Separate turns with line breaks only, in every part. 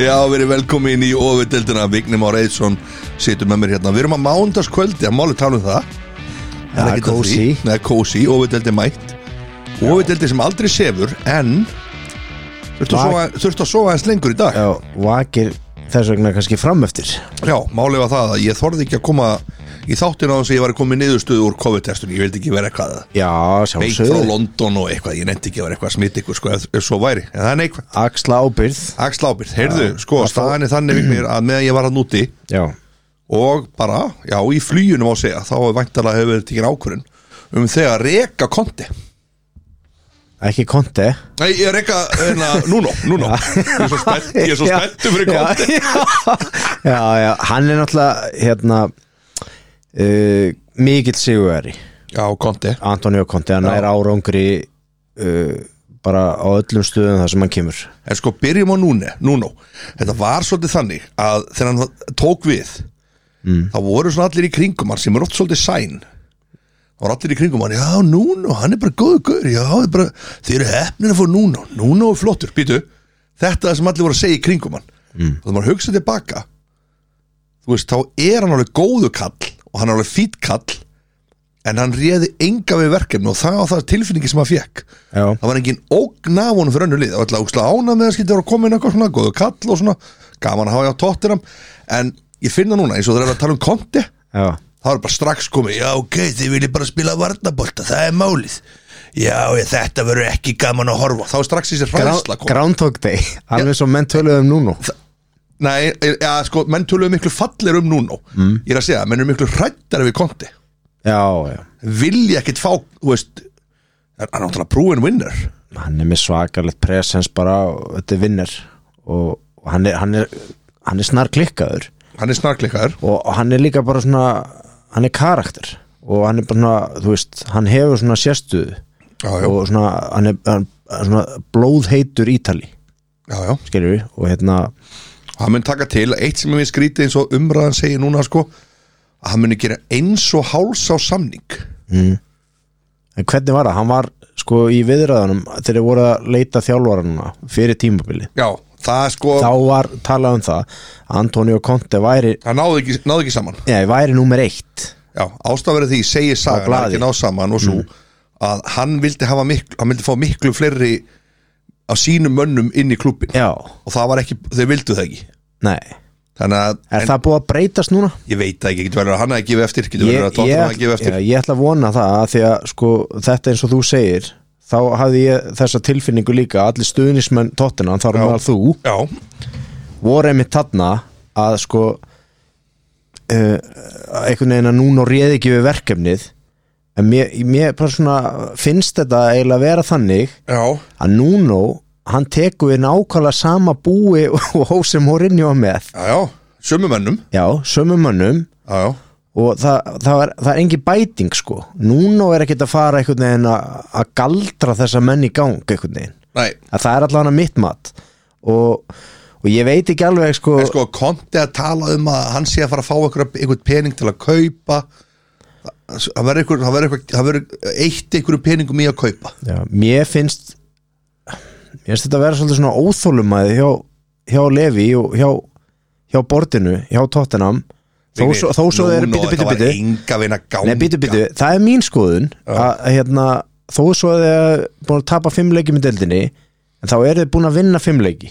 Já, verið velkomin í ofurdeldina Vignum Már Eidsson situr með mér hérna Við erum að mándagskvöldi, að máli tala um það Það
Ja,
ekkert að
kósí.
því. Nei, kósi, ofurdeldi mætt Ofurdeldi sem aldrei sefur, en þurftu að
Vak-
sofa- þurftu að sofa aðeins lengur í dag
Já, vakir þess vegna kannski framöftir
Já, málið var það að ég þorði ekki að koma í þáttina á þess að ég var að koma í niðurstöðu úr COVID-testun Ég vildi ekki vera eitthvað
Já,
beint frá
sjálfsögðu
London og eitthvað Ég nefndi ekki að vera eitthvað smitt ykkur, sko, ef, ef svo væri En það er neikvæmt
Axla ábyrð
Axl ábyrð, heyrðu, sko, staðan er þannig Vignir, að meðan ég var að núti
Já,
og bara, já, í flýjunum á segja þá er væntalega hefur verið tekin ákvörun um þegar reka konti
ekki konti
Nei, ég reka, hérna, núna, núna Ég er svo spennt, ég er svo spenntu fyrir konti
já, já, já, já, hann er náttúrulega hérna uh, mikill sigurveri
Já, konti
Antonio Konti, hann
Já.
er árangri uh, bara á öllum stöðum þar sem hann kemur
En sko, byrjum á núna, núna Þetta var svolítið þannig að þegar hann tók við mm. þá voru svona allir í kringum hann sem er oft svolítið sæn þá voru allir í kringum hann, já, núna, hann er bara góðu gaur, já, þið, bara, þið eru hefnir að fóra núna, núna og flottur, býtu þetta er sem allir voru að segja í kringum hann mm. og það maður hugsa tilbaka þú veist, þá er hann alveg góðu kall og hann er alveg fýtt kall en hann réði enga við verkefni og það var það tilfinningi sem hann fekk
Já,
það var engin ógn af honum fyrir önnu lið það var alltaf úkslega ánað með að skilja að koma inn eitthvað svona góðu kall og svona gaman að hafa ég á tóttir en ég finna núna eins og það er að tala um konti
já,
það var bara strax komið já ok þið viljið bara spila varnabolta það er málið já ég, þetta verður ekki gaman að horfa á." þá er strax þessi hræðsla komið
Groundhog Day alveg svo menn um töluðum núna
nei ja, sko menn töluðu miklu fallir um núna ég er að segja menn eru miklu hrættar við konti
Já, já,
vilja ekkit fá þú veist hann er náttúrulega proven winner
hann er með svakalegt presens bara og þetta er vinner og, og hann, er, hann, er, hann er snar klikkaður
hann er snarklikaður
og, og hann er líka bara svona hann er karakter og hann er bara svona, þú veist, hann hefur svona sérstuð
já já,
og svona, hann er hann, er svona blóðheitur ítali
já, já.
skilur við, og hérna
hann mun taka til, eitt sem við skrítið eins og umræðan segir núna sko að hann muni gera eins og háls á samning
mm. en hvernig var það, hann var sko í viðræðunum þegar þeir voru að leita þjálfarana fyrir tímabilið,
já, það sko,
þá var talað um það að Antonio Conte væri
það náði ekki, náði ekki saman
nei, væri númer eitt
já, ástafverið því, segir
Á
sagan
blaði.
að ekki ná saman og svo að hann vildi hafa miklu, hann vildi fá miklu fleiri af sínum mönnum inn í klubbin
já,
og það var ekki, þeir vildu það ekki
nei
þannig að,
Er það búið að breytast núna?
ég veit það ekki, getur verið að hann að gefa eftir getur
Ég,
verið að tóttur að gefa
ég,
eftir
já, ég ætla að vona það að því að sko, þetta eins og þú segir þá hafði ég þessa tilfinningu líka að allir stuðnismenn tóttina, þar
Já.
var þú
já,
voru einmitt þarna að sko uh, einhvern veginn að núna réði ekki við verkefnið en mér, mér bara svona finnst þetta eiginlega vera þannig
já,
að núna hann tekur við nákvæmlega sama búi og hó sem Mourinho var með
já, já sömu mönnum,
já, sömu mönnum
já, já
og það, það, er, það er engin bæting sko núna er ekkert að fara einhvern veginn að að galdra þessa menn í gang einhvern veginn,
nei,
að það er allavega mitt mat og, og ég veit ekki alveg sko,
En sko, Konti að tala um að hann sé að fara að fá einhver, einhver pening til að kaupa það verður einhver, það verður einhver, það verður eitt einhverju peningum í að kaupa
já, mér finnst mér finnst þetta að vera svolítið svona óþólumæði hjá, hjá Levi og hjá, hjá bordinu, hjá Tottenham þó svo, þó svo þeir
Nú,
bítu,
þetta
bítu,
var
bítu
enga veginn að ganga
Nei, býtu, býtu, það er mín skoðun að, að hérna, þó svo að þið er búin að tapa fimm leikjum í deildinni en þá eru þið búin að vinna fimm leiki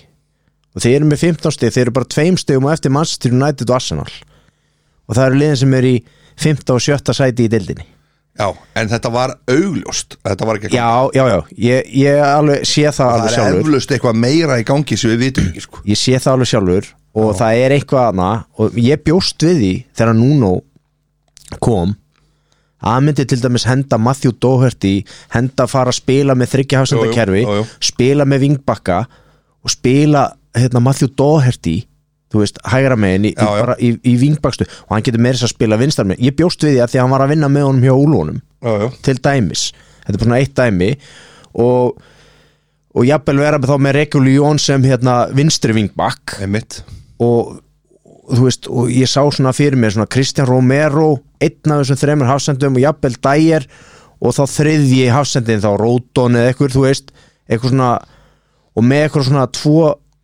og þið eru með 15 stig, þið eru bara tveim stigum og eftir Manchester United og Arsenal og það eru liðin sem eru í 15 og 17 sæti í deildinni
Já, en þetta var augljóst Þetta var ekki að ganga.
Já, já, já, ég, ég alveg sé það, alveg
Það er
sjálfur
eflaust eitthvað meira í gangi sem við vitum ekki sko.
Ég sé það alveg sjálfur og það er eitthvað aðna og ég bjóst við því þegar Nuno kom að hann myndi til dæmis henda Matthew Doherty henda að fara að spila með þryggjahásendakerfi
Jú, jú, jú, jú.
spila með vingbakka og spila hérna, Matthew Doherty þú veist, hægra megin í,
Já, já.
í, bara í, í vingbakstu og hann getur meira þess að spila vinstar megin ég bjóst við því að því að hann var að vinna með honum hjá úlunum
Já, já,
til dæmis þetta er bara svona eitt dæmi og, og jafnvel vera með þá með Reguljón sem hérna vinstri vingbakk
einmitt
og, og þú veist og ég sá svona fyrir mér svona Kristján Romero einn af þessum þremur hafsendum og jafnvel Dyer og þá þriðji hafsendin þá Róton eða eitthvað þú veist eitthvað svona og með eitthvað svona tvo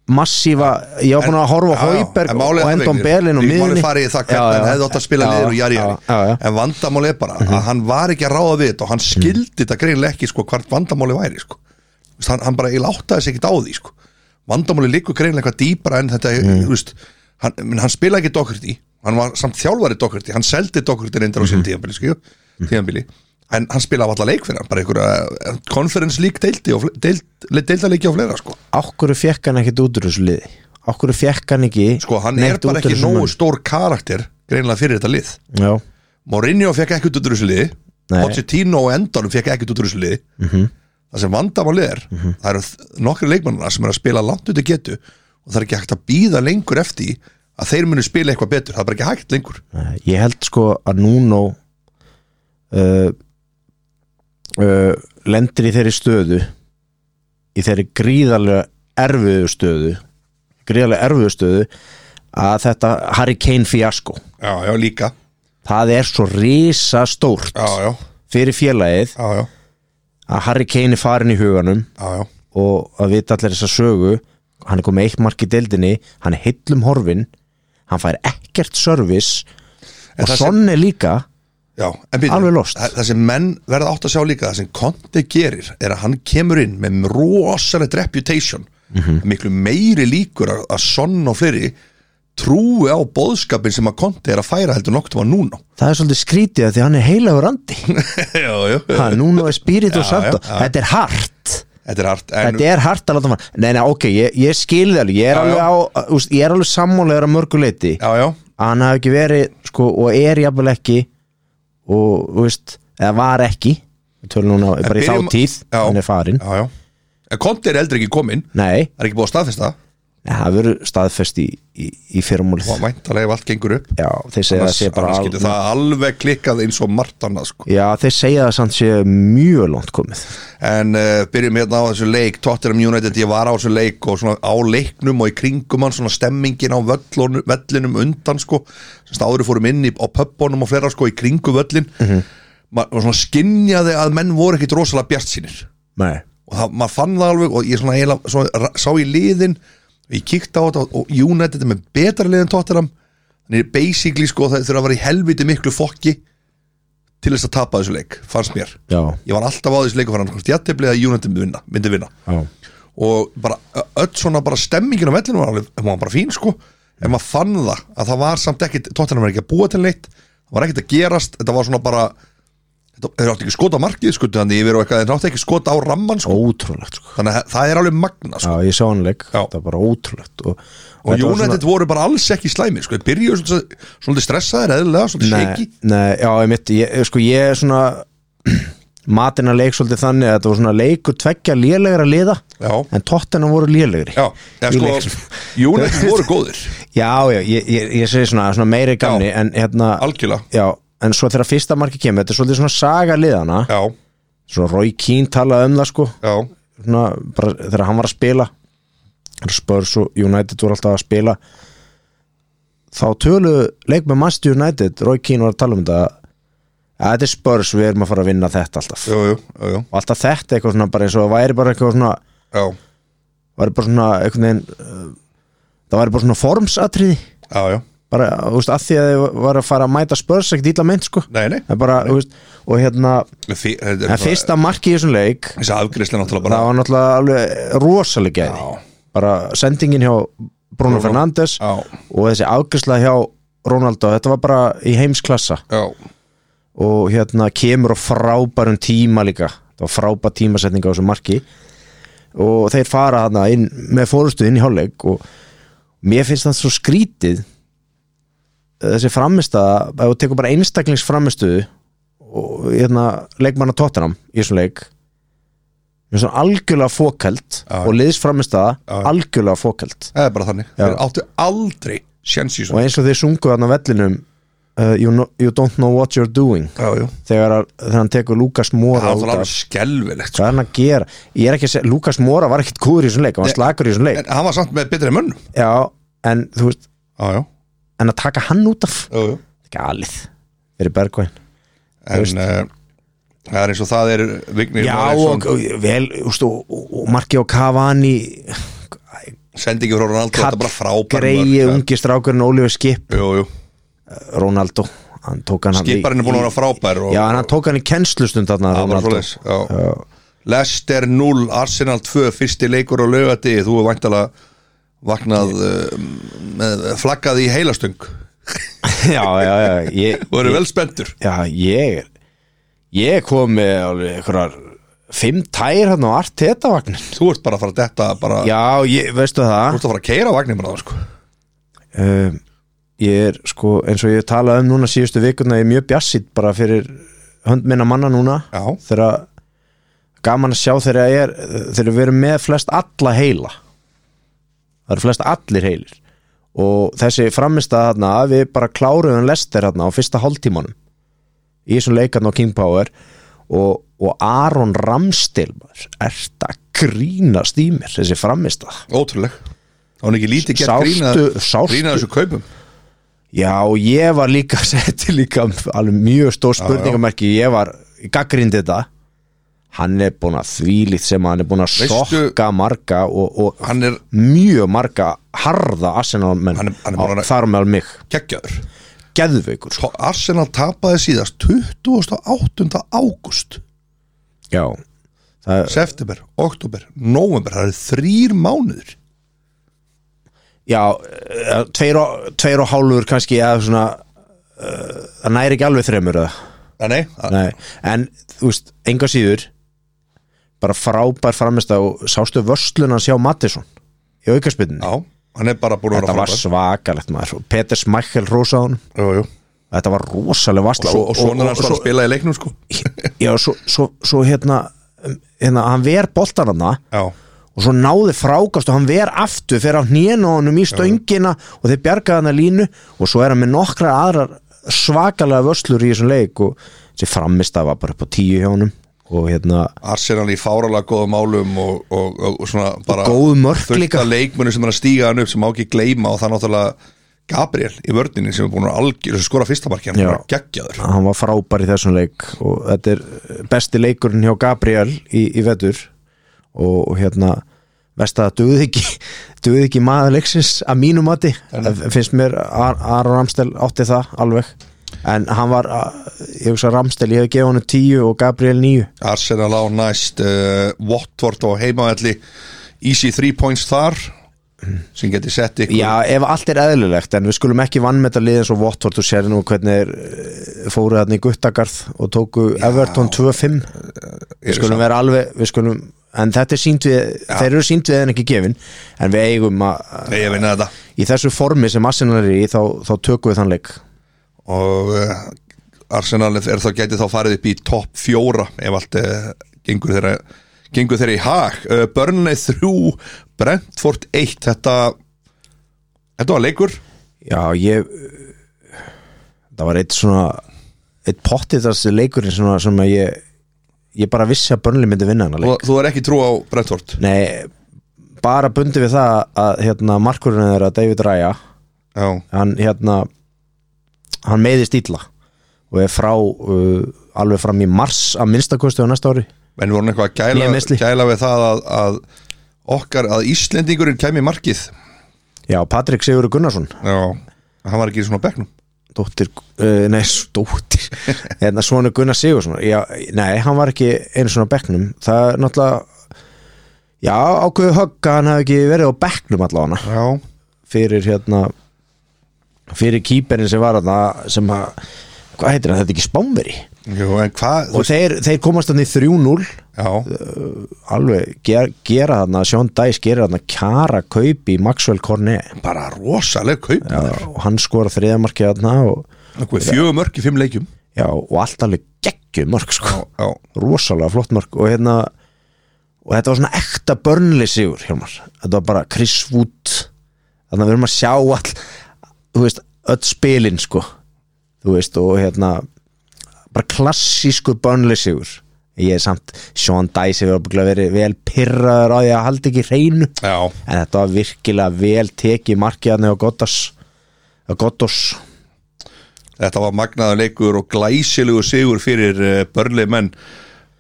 massífa ég var búin að horfa á
Já, já,
Hauberg
en málið er
og
það,
Endon
Vignir.
Berlin og
Þingmálið
miðunni
farið í það hvernig hann hefði átt að spila niður og jari jari En vandamálið er bara að hann var ekki að ráða við þetta og
Mhm.
hann skildi þetta greinlega ekki sko hvart vandamálið væri sko Þú veist, hann, hann bara eiginlega áttaði sig ekkit á því sko Vandamálið liggur greinlega eitthvað dýpara en þetta
Mhm.
mm. veist, hann, menn, hann spilaði ekki Doherty hann var samt þjálfari Doherty, hann seldi Doherty reyndar á
Mhm.
sín tíðanbili sko tíðanbili En hann spilaði alltaf leik fyrir hann, bara einhverja eh, conference league deildi og fle- deild, deildaleiki og fleira sko
Ákvöru fekk hann ekkit út úr þessu liði Ákvöru fekk hann ekki
Sko, hann er
neitt
bara
út úr
ekki
þessum
nógu
mönnum?
stór karakter greinlega fyrir þetta lið
Já,
Mourinho fekk ekkert út úr þessu liði
Nei.
Pochettino og Endonum fekk ekkert út úr þessu liði
mhm.
það sem vandamál er það eru þ- nokkri leikmannuna sem er að spila langt út í getu og það er ekki hægt að býða lengur eftir því að þeir munu spila eitthvað betur það er bara ekki hægt lengur
Nei, ég held sko að Nuno uh, uh, lendir í þeirri stöðu í þeirri gríðarlega erfiðu stöðu gríðarlega erfiðu stöðu að þetta Harry Kane fiasko
já, já, líka
það er svo risa stórt
já, já,
fyrir félagið
já, já,
að Harry Kane er farin í huganum
já, já.
og að vita allir þessa sögu hann er komið með eitt mark í deildinni hann er heillum horfin hann fær ekkert service
En
og
það sem-
sonni líka
Já, en býtum,
Alveg lost.
það, það sem menn verða átt að sjá líka það sem Conte gerir er að hann kemur inn með rosalegt reputation miklu meiri líkur að, að sonn og fleiri trúi á boðskapin sem að Conte er að færa heldur nokkuð var núna
það er svolítið skrítið að því hann er heilagur andi
já, já.
hann núna er spýrit og
Já,
samt
já, já.
þetta er hart
þetta er hart en,
þetta er hart að láta hann nei, nei, ok, ég, ég skil það alveg ég er
Já, já.
alveg, á, úst, ég er alveg sammálegur að mörgu leiti
já, já,
að hann hafi ekki verið sko, og er jafnvel ekki og, þú veist, eða var ekki við tölum núna bara í þá
byrjum-
tíð
Já.
hann er farin
já, já. en Conte er eldri ekki komin
nei,
það er ekki búið að staðfesta
Nei, það verður staðfest í, í, í fyrramúlið
og væntalega ef allt gengur upp
Já, þeir segja það
annars,
sé bara
annars
al...
getur það alveg klikkað eins og margt annað sko.
Já, þeir segja það samt sé mjög langt komið
En uh, byrjum hérna á þessu leik Tottenham United, ég var á þessu leik og svona á leiknum og í kringum hann svona stemmingin á völlunum, vellinum undan sko, sem stáður fórum inn í, á pöppunum og flera sko í kringu völlin mm maður svona skinjaði að menn voru ekkit rosalega bjart sínir
Nei
og það, maður fann það alveg og ég svona, heila, svona ra- sá í liðin ég kíkti á þetta og- og United er með betra lið en Tottenham þannig er basically sko það þurfa að vera í helviti miklu fokki til þess að tapa þessu leik, fannst mér
Já,
ég var alltaf á þessu leiku fyrir hann hvort ég tefli að United myndi vinna, myndi vinna
já,
og bara ö- öll svona bara stemmingin á vellinu var, alveg, hún var bara fín sko en maður fann það að það var samt ekkit tóttanum var ekki að búa til neitt það var ekkit að gerast, þetta var svona bara þetta- þeir áttu ekki skota markið skutu þannig yfir og eitthvað, þeir áttu ekki skota á ramman sko
ótrúlegt sko.
þannig að það er alveg magna sko
Já, ég sá hann leik,
Já.
það var bara ótrúlegt
og
Og, þetta var
United voru bara alls ekki slæmi sko, þeir byrjuðu svolítið, svolítið stressaðir eðlilega, svolítið
Nei,
shaky
nei, já, ég mitt, ég, sko ég er svona matina leik svolítið þannig að þetta var svona leikur tveggja lélegra liða
já,
en tóttina voru lélegri
já, eða
Í
sko
leiknum.
United voru góðir,
Já, já, ég, ég, ég segi svona, svona meiri gamni en hérna,
algjörlega
já, en svo þegar fyrsta marki kemur, þetta er svolítið svona saga liðana
já,
svona Roy Keane talaði um það sko
já,
svona, bara, þegar hann var að spila Spurs og United voru alltaf að spila þá tölu leik með Master United Roy Keane var að tala um þetta að þetta er Spurs, við erum að fara að vinna þetta alltaf
jú, jú, jú, jú.
og alltaf þetta eitthvað svona bara eins og það væri bara eitthvað svona
já
væri bara svona eitthvað neginn uh, það væri bara svona formsatriði
Já, já,
bara, þú veist, að því að þið var að fara að mæta Spurs ekkert illa meint sko
nei, nei
Það er bara, þú veist, og hérna
Fyr, þetta er
en
bara-
fyrsta marki í þessum leik
Þessi afgriðslega náttúrulega bara
það var náttúrulega alveg rosalega gæði
Já.
bara sendingin hjá Bruno Fernandes
Já,
og þessi afgjörsla hjá Ronaldo þetta var bara í heimsklassa
já,
og hérna kemur á frábærum tíma líka það var frábær tímasetning á þessu marki og þeir fara hana inn með fórustu inn í hálfleik og mér finnst það svo skrítið þessi framistaða ef þú tekur bara einstaklingsframistuðu og hérna leikmanna tóttanam í þessum leik mér finnst það algjörlega fókælt
Já.
og liðsframistaða
Já.
algjörlega fókælt
það er bara þannig
Já.
Þeir áttu aldrei sjens í
og
svona
eins og þeir sungu þarna á vellinum uh, you, know, you don't know what you're doing
Já, já
þegar, að- þegar hann tekur Lukas
Það
Móra
var
út
alveg
af
skelvilegt sko.
hvað er hann að gera ég er ekki að segja, Lukas Móra var ekkit kúður í þessum leik hann var
Nei.
slakur í þessum leik
En hann var samt með betri mönnum
já, en þú veist,
Já, já,
en að taka hann út af
já, já.
galið, fyrir Bergvæn
En eh, það er eins og það er Vignir
já,
Már Eiðsson
og, og vel, úst, og, og, og Marki og Cavani
sendi ekki frá Ronaldo, þetta er bara frábær
greiði
mörk.
ungi strákurinn Ólífur Skip
Jú, jú,
Ronaldo, hann tók hann hann í-
skiparinn er búin hérna að vera frábær og,
Já, en hann tók hann í kennslustund þarna
Það var
Ronaldo.
svoleiðis, já. Leicester 0, Arsenal 2 fyrsti leikur á laugati, þú er væntalega vaknað uh, með, flaggað í heilastöng
Já, já, já, ég,
og eru vel spenntur
já, ég ég kom með alveg einhverjar fimm tær hann á Arteta vagnin
þú ert bara að fara að detta bara,
Já, ég, veistu það
þú ert að fara að keira vagnin bara, sko.
um, ég er sko eins og ég talaði um núna síðustu vikuna ég er mjög bjassið bara fyrir hönd minna manna núna
Já.
þegar gaman að sjá þegar ég er þegar við erum með flest alla heila það eru flest allir heilir og þessi framist að þarna að við bara kláruðum lester þarna á fyrsta hálftímanum í þessum leikarn á King Power og, og Aron Ramstil er þetta grínast í mér þessi framist að
ótrúleg þá er ekki lítið gert
Sástu-
grína,
sástu-
grína þessu kaupum
Já, ég var líka setti líka alveg mjög stór spurningamerki ég var gaggrindi þetta hann er búin að þvílið sem hann er búin að
Veistu-
sokka marga og, og
hann er
mjög marga harða Arsenal menn
Hann er- hann er búinn að-
þar meðal mig,
geggjaður
geðveikur sko.
Sko, Arsenal tapaði síðast 28. ágúst
Já, það,
september, oktober, november það eru þrýr mánuður
já eh, tveir og, tveir og hálfur kannski eða svona eh, það næri ekki alveg þremur eða
Nei, nei, að-
Nei, en þú veist, enga síður bara frábær framist og sástu vörsluna sjá Mattisson í aukarsbyrninni,
já, hann er bara búin að
þetta
vera
var svakalegt maður og Peter Smækkel rósa hann
frábær jú, jú.
þetta var rosalega vassla
og svona hann svo að spila í leiknum sko
já, svo, svo, svo hérna, um, hérna hann ver boltan hann
já,
og svo náði frákast og hann ver aftur fyrir á hnén og honum í stöngina og þeir bjargaði hann að línu og svo er hann með nokkra aðrar svakalega vörslur í þessum leik og þessi framist var bara upp á tíu hjá honum og hérna
Arsenal í fáralega góðum álum og, og, og, og svona bara
góð mörk líka.
þurfta leikmunni sem er að stíga hann upp sem má ekki gleyma og það er náttúrulega Gabriel í vördninni sem er búin að algjör sem skora fyrsta marki, hann
Já.
er bara geggjaður
hann var frábær í þessum leik og þetta er besti leikurinn hjá Gabriel í, í vetur og hérna vest að duð ekki, duð ekki maður leiksins að mínu mati Það finnst mér Ar- Aron Ramstel átti það alveg en hann var, að- ég hugsa Ramstel ég hef gefið honum tíu og Gabriel níu
Arsenal á næst uh, Watford á heimavelli easy 3 points þar sem geti sett ykkur
Já, ef allt er eðlilegt en við skulum ekki vannmeta liðin svo Votvort og sér nú hvernig er, fóruð hann í Guttagarð og tóku Everton 2-5
Eru
Við skulum
saman.
vera alveg við skulum, en þetta er sínt við þeir eru sínt við en ekki gefin en við eigum að
Nei, ég vinna þetta
í þessu formi sem Arsenal er í þá, þá tökum við þann leik
og uh, Arsenal er þá gæti þá farið upp í topp fjóra ef allt uh, gengur þeirra gengur þeirra í hag uh, Burnley 3, Brentford 1 þetta þetta var leikur
Já, ég uh, það var eitt svona eitt pottið þessi leikurinn svona, sem að ég, ég bara vissi að Burnley myndi vinna hann leik.
og þú er ekki trú á Brentford
Nei, bara bundi við það að hérna, markurinn er að David Raya
já,
hann hérna hann meiðist illa og er frá uh, alveg fram í mars að minnstakosti á næsta ári
en voru hann eitthvað að
Nýja
gæla,
meiðsli.
gæla við það að, að okkar, að Íslendingurinn kæmi í markið
Já, Patrik Sigur Gunnarsson
já, hann var ekki svona á bekknum
dóttir, uh, nei, s- dóttir hérna svona Gunnar Sigursson já, nei, hann var ekki einu svona á bekknum það er náttúrulega já, ákveðu högg að hann hafi ekki verið á bekknum allavega
já,
fyrir hérna fyrir kýperinn sem var þarna sem að, hvað heitir hann, þetta er ekki spámveri
Jú, en hvað þú-
og þeir, þeir komast hann í 3-0
já,
alveg ger, gera þarna Sean Dice gera þarna kjara kaup í Maxwell Cornet
bara rosaleg kaup
og hann skora þriðamarkið þarna og,
fjögur mörk í fimm leikjum
já, og allt alveg geggjum mörg sko,
já,
rosalega flott mörg og hérna og þetta var svona ekta börnli sigur Hjálmar, þetta var bara Chris Wood þannig að við erum að sjá all þú veist, öll spilin sko þú veist, og hérna bara klassísku börnli sigur ég er samt, Sean Dice hefur örugglega verið vel pyrraður á því að halda ekki hreinu
já
en þetta var virkilega vel tekið markiðarni á Gottas á Gottos
Þetta var magnaður leikur og glæsilegur sigur fyrir uh, börli menn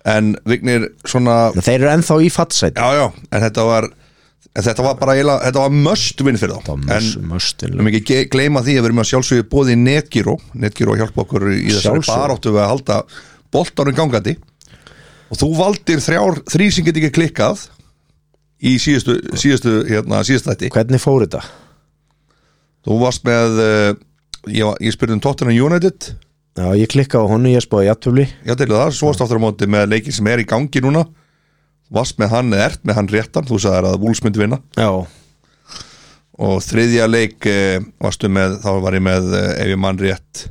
en Vignir svona
en þeir eru ennþá í fattsæti
já já, en þetta var en þetta var bara eiginlega, þetta var möst vinn fyrir þá en
möstin
Við erum ekki ge- gleyma því að við erum að sjálfsögja bóði Netgyro Netgyro hjálpa okkur í þessari
Sjálfsögðu.
baráttu við að halda boltanum gangandi og þú valdir þrjár, þrý sem get ekki klikkað í síðustu, síðustu, hérna, síðustu þætti
Hvernig fór þetta?
Þú varst með, uh, ég, var- ég spurði um Tottenham United
Já, ég klikkaði á honum, ég spáði jafntöfli
Já, til það, svo varst aftur á móti með leikin sem er í gangi núna Varst með hann, eða ert með hann réttan, þú sagðir að Wolves myndi vinna
Já,
og þriðja leik uh, varstu með, þá var ég með uh, ef ég mann rétt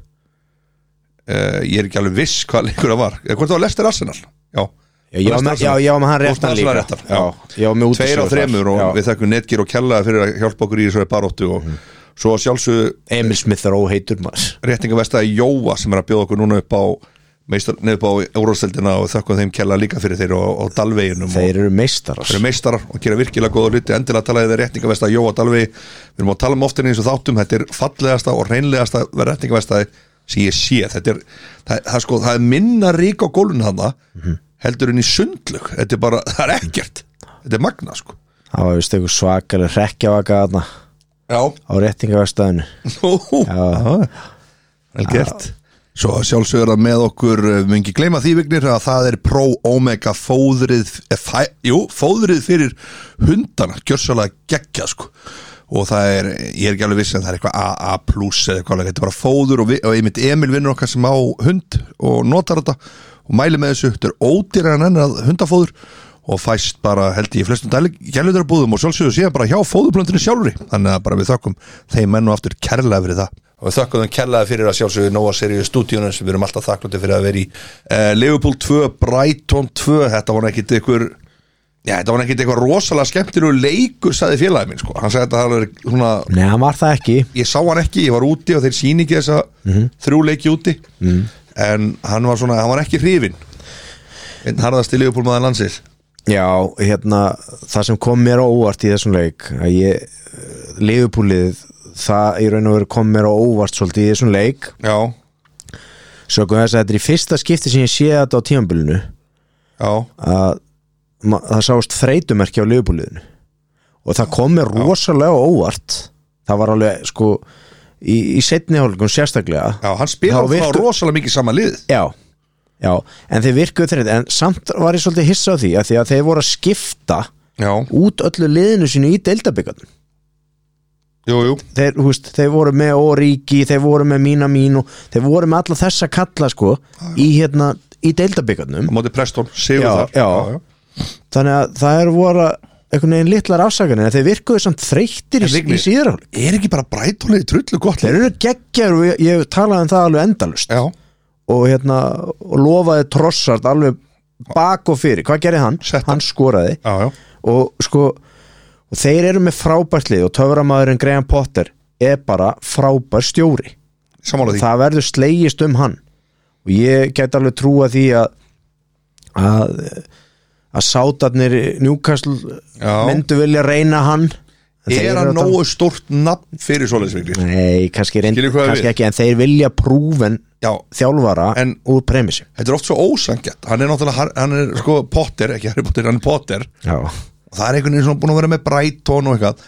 uh, ég er ekki alveg viss hvað leikur það var eða hvort það var Lester Arsenal já,
já ég var með, já, ég var með hann
Þú varst
réttan
með
líka
Arsenal réttan, já.
já, ég var
tveir
með
á
útisögur
þremur og
þar. Já. Mhm.
við þekkum netgir og kjallaði fyrir að hjálpa okkur í þessari baróttu og svo sjálfsög
Emil Smith er óheitur maður
réttingavestaði Jóa sem er að bjóða okkur núna upp á meistar, nei, upp á Eurósteldina og þökkum þeim kjalla líka fyrir þeir og, og Dalveginum og-
Þeir eru meistarar
eru meistarar og gera virkilega góða hluti endilega talaði þeir réttingavesta Jóa Dalvi við erum að tala um oftin eins og þáttum þetta er fallegasta og reynlegasta réttingavestaði sem ég sé þetta er, það, það, er sko, það er minna rík á gólun hana heldur henni sundlug þetta er bara, það er ekkert þetta er magna sko
Það var vist eitthvað svakalega rekkjavaka þarna
já,
á réttingaverstaðinu
já. vel gert Svo sjálfsögur að með okkur eh, við mungi gleyma því vignir að það er Pro Omega fóðrið eh, fæ, jú, fóðrið fyrir hundana gjörsalega geggja sko og það er, ég er ekki alveg viss en það er eitthvað AA plus eða eitthvað alveg, þetta er bara fóður og, við, og einmitt Emil vinnur okkar sem á hund og notar þetta og mæli með þessu þetta er ódýra en enn að hundafóður og fæst bara held ég í flestum gælutarbúðum og sjálfsögur síðan bara hjá fóðurblöndinu sjálfri þannig að bara við þökkum þeim menn og aftur kærlega fyrir það og við þökkum þeim kærlega fyrir að sjálfsögur Nóa Seriðu stúdíunum sem við erum alltaf þakklúti fyrir að vera í uh, Liverpool 2, Brighton 2 þetta var ekki ykkur Já, þetta var ekkert eitthvað rosalega skemmtilegu leikur sagði félagið minn, sko, hann sagði þetta var svona,
Nei, hann var það ekki
ég sá hann ekki, ég var úti og þeir síni ekki þessa þrjú leiki úti en hann var svona, hann var ekki hrifin en harðasti leifupólmaðan landsins
Já, hérna, það sem kom mér á óvart í þessum leik að ég, liðupúlið það í raun og veru kom mér á óvart svolítið í þessum leik
Já,
sökum þess að þetta er í fyrsta skipti sem ég sé þetta á tímabilinu
já,
að ma- það sást þreytumerki á liðbúliðinu og það kom mér rosalega á óvart það var alveg sko í, í setni hálfleikum sérstaklega
já, hann spila
Þá
þá
virtu-
rosalega mikið sama lið
já, já, en þeir virkuðu þeir en samt var ég svolítið hissa á því að því að þeir voru að skipta
Já,
út öllu liðinu sínu í deildabyggarnum
jú, jú,
þeir, þú veist, þeir voru með Origi, þeir voru með Mína Mínu þeir voru með alla þessa kalla sko í hérna, í deildabyggarnum
á móti Preston, sigur
Já,
þar
já. þannig að það er voru einhvern veginn litlar afsakanir en þeir virkuðu samt þreyttir í,
En Vignir-
í síðarháli
Er ekki bara brætónið trullu gott
þeir
lið?
eru geggjar og ég, ég talaði um það alveg endalust
Já,
og hérna og lofaði trossart alveg bak og fyrir, hvað gerði hann?
Sett hann.
hann skoraði
já, já,
og sko og þeir eru með frábært lið og töframæðurinn Graham Potter er bara frábær stjóri
samála því
það verður slegist um hann og ég get alveg trúa því að að, að sátarnir Newcastle
Já.
myndu vilja reyna hann En þeir
Er
eru
hann
þetta-
nógu stórt nafn fyrir svoleiðsvikli?
Nei, kannski, reynd,
Skilur hvað við?
kannski ekki en þeir vilja prúfen
Já,
þjálfara
En-
úr premissi
Þetta er oft svo ósangjart Hann er náttúrulega, har- hann er sko Potter Ekki Harry Potter, hann er Potter
Já,
Og það er einhvern veginn svona búin að vera með Brighton og eitthvað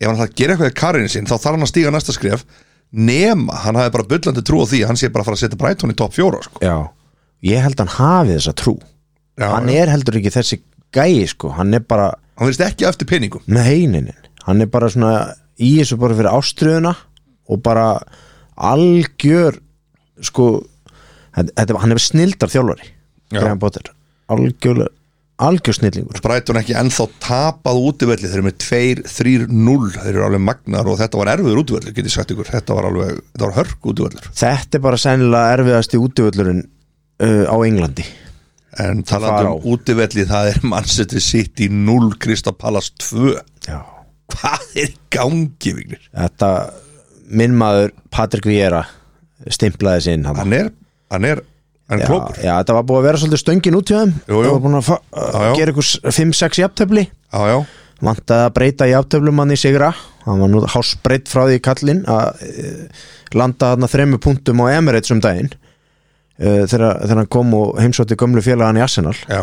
Ef hann ætlar að gera eitthvað í karinn sinn Þá þarf hann að stíga næsta skref Nema, hann hafi bara bullandi trú á því að Hann sé bara að fara að setja Brighton í topp fjóra sko.
já Ég held hann hafi þessa trú
Já,
Hann
já.
er heldur ekki þessi gæi sko Hann er bara
Hann verðist ekki á eftir peningum
með heinin Hann er bara svona í þessu bara fyrir ástriðuna og bara algjör sko þetta, þetta- hann er snildar þjálfari
Já.
Graham Potter algjör, algjör snillingur
Brighton ekki ennþá tapað útivelli Þeir eru með 2-3-0 Þeir eru alveg magnar og þetta var erfiður útivelli Get ég sagt ykkur, þetta var alveg, þetta var hörk útivellir
Þetta er bara sennilega erfiðasti útivöllurinn uh, á Englandi
En
fara á.
talandi um útivelli Það er Manchester City 0 Kristapalas 2
Já
Hvað er í gangi, Vignir?
þetta minn maður Patrik Viera stimplaði sinn hann
hann er hann er, hann er
já,
klókur
já, þetta var búið að vera svolítið stöngin út hjá þeim
Jú, jú.
það var búin að fa-
já.
að gera ykkur 5-6 jafntöfli
já, já,
vantaði að breyta jafntöflum hann í sigra hann var nú hásbreytt frá því kallinn að e, landa þarna þremmu punktum á Emirates um Eh, daginn e, þegar, þegar hann kom og heimsótti gömlu félagann í Arsenal
já,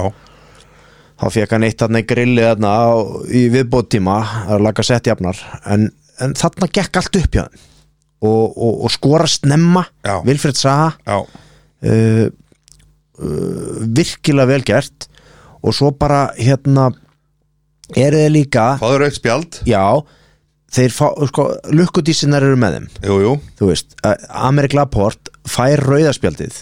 þá fekk hann eitt þarna í grilli þarna á, í viðbóttíma að laga sett jafnar en, en þarna gekk allt upp hjá hann og, og, og skora snemma
Já.
Vilfred Saha
já,
uh, uh, virkilega vel gert og svo bara hérna eru þeir líka
það er aukt spjald
já, þeir fá, sko, lukkudísinar eru með þeim
Jú, jú,
þú veist, að Amerik Lapport fær rauðaspjaldið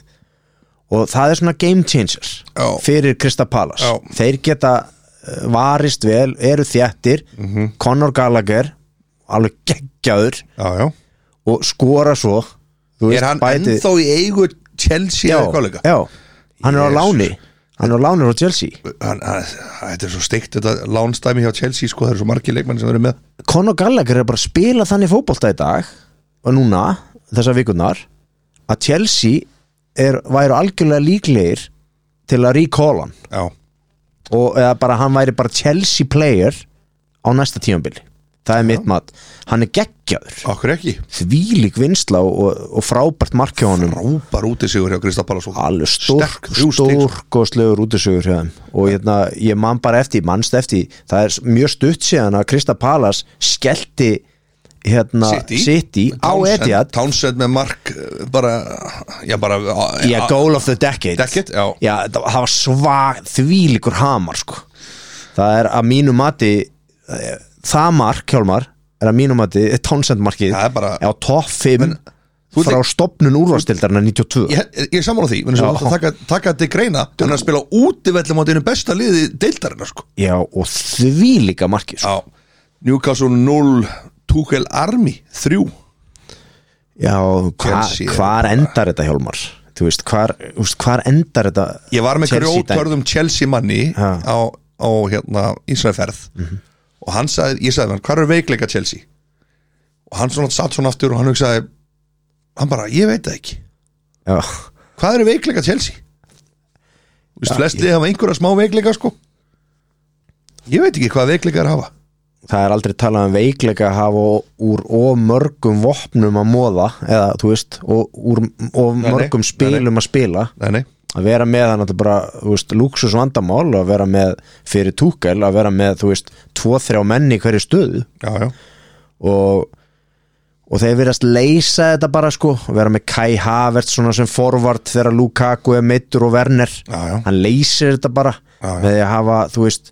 og það er svona game changer
Já.
fyrir Krista Palas
Já.
þeir geta eh, varist vel eru þjættir,
Mhm.
Conor Gallagher alveg geggjaður
já, já
og skora svo þú
Er hann
bætið-
ennþá í eigu Chelsea
já,
eða eitthvað líka?
já, hann er á
Jesus.
láni hann er á láni frá Chelsea
Hann, hann, þetta er svo steikt þetta lánstæmi hjá Chelsea sko, það eru svo margir leikmenn sem eru með
Conor Gallagher er bara að spila þannig fótbolta í dag og núna, þessar vikunar að Chelsea er, væru algjörlega líklegir til að recall hann
Já,
og eða bara hann væri bara Chelsea player á næsta tímabili það er mitt mat, hann er geggjaður
okkur ekki
þvílík vinsla og, og frábært markið honum
Rópar út í sigur hjá Kristapalas
alveg
Sterk, þrjú stig, sko.
stórkostlegur útisögur hjá þeim og hérna, ég man bara eftir, mannst eftir það er mjög stutt síðan að Krista Palas skellti hérna
City.
City á Etihad
Townsend með mark eh, bara, já bara
í að goal of the decade
Dekkit, já
já, það það var svag þvílíkur hamar sko það er að mínu mati eh, það mark, Hjálmar er að mínu mati, Townsend markið
Það er bara-
á topp 5
þú ert
frá stopnun úrvastildarna 92
Ég, ég er sammála því, menn
Já.
sem það taka, taka til greina hann er að spila útivellum á einu besta liði deildarinnar sko
já, og þvílíka markið sko.
Já, Newcastle 0 Tuchel Army 3
Já, hva,
Chelsea er
hvar endar þetta Hjálmar? Þú veist, hvar, þú veist, hvar endar þetta
Ég var með
Chelsea dæmi?
grjótörðum Chelsea manni
Ha. Mhm.
á, á hérna Ísraelferð og hann sagði, ég sagði við hann, hvað er veikleika Chelsea? Og hann svona satt svona aftur og hann hugsaði hann bara, ég veit það ekki
Já,
Hvað eru veikleika Chelsea? Þú veist, flest liðið hafa einhverja smá veikleika sko Ég veit ekki hvað veikleika er að hafa
það er aldrei talað um veikleika að hafa úr of mörgum vopnum að móða eða, þú veist, og úr of
nei,
mörgum
nei,
spilum að spila
Nei, nei,
að vera með hann þetta bara, þú veist, luxus vandamál að vera með fyrir túkel að vera með, þú veist, tvo-þrjá menni í hverju stöðu
já, já
og og þeir verðast leysa þetta bara sko vera með Kai Havertz svona sem forvart þegar Lukaku er meittur og Werner
Já, já.
hann leysir þetta bara
Já, já.
með því að hafa, þú veist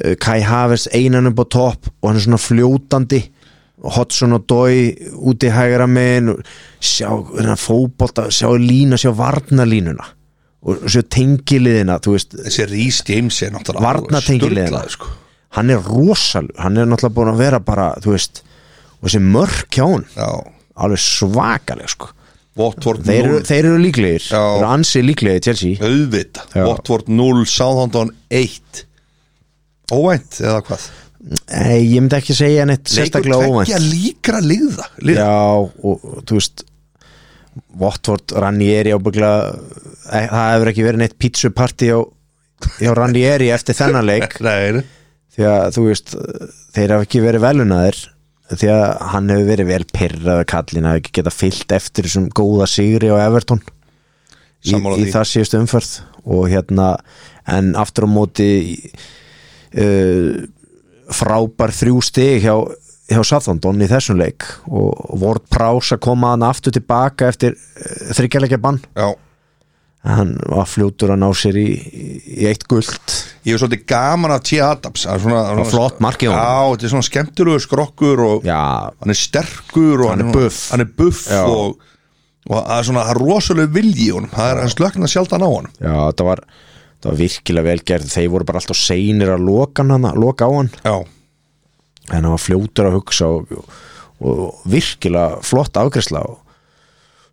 eh, Kai Havertz einan upp á topp og hann er svona fljótandi Hodson og Dói úti hægra megin og sjá hérna, fótbolta, sjá lína, sjá varnalínuna og sjá tengiliðina þú veist,
Þessi Rhys James er náttúrulega
Varnartengilegina.
sturlaður, sko.
hann er rosalug hann er náttúrulega búin að vera bara, þú veist og þessi mörk hjá hann
Já,
alveg svakaleg sko
Watford
þeir, eru,
0
þeir eru líklegir,
Já.
þeir eru ansi líklegir í Chelsea
auðvita
Já.
Watford 0, Southampton 1 Óvænt eða hvað
Nei, ég myndi ekki segja neitt sérstaklega óvænt
Leikur tveggja líkra liða, liða.
Já, og og þú veist Watford, Ranieri ábyggla það hefur ekki verið neitt pítsuparti á, á Ranieri eftir þennan leik
Nei, nei.
því að þú veist þeir hafa ekki verið velunaðir því að hann hefur verið vel pyrraður kallin hafa ekki getað fyllt eftir þessum góða sigri á Everton í,
Sammála
í
því.
það síðustu umferð og hérna en aftur á móti uh, frábær þrjú stig hjá, hjá Southampton í þessum leik og Ward Prowse að koma hann aftur tilbaka eftir uh, þryggjarleikja bann
Já,
hann var fljótur að ná sér í, í eitt guld
ég er svolítið gaman af T. Adams Það er svona, svona,
flott mark hjá
Já,
honum.
þetta er svona skemmtilegu skrokkur og
já,
hann er sterkur og
Hann er buff.
hann er buff
Já.
og, og það er svona það er rosalega vilji í honum það er hann slöknar sjaldan á honum
Já, það var, það var virkilega vel gert Þeir voru bara alltaf seinir að loka, hann, loka á hann
já,
En hann var fljótur að hugsa og, og, og virkilega flott afgræsla og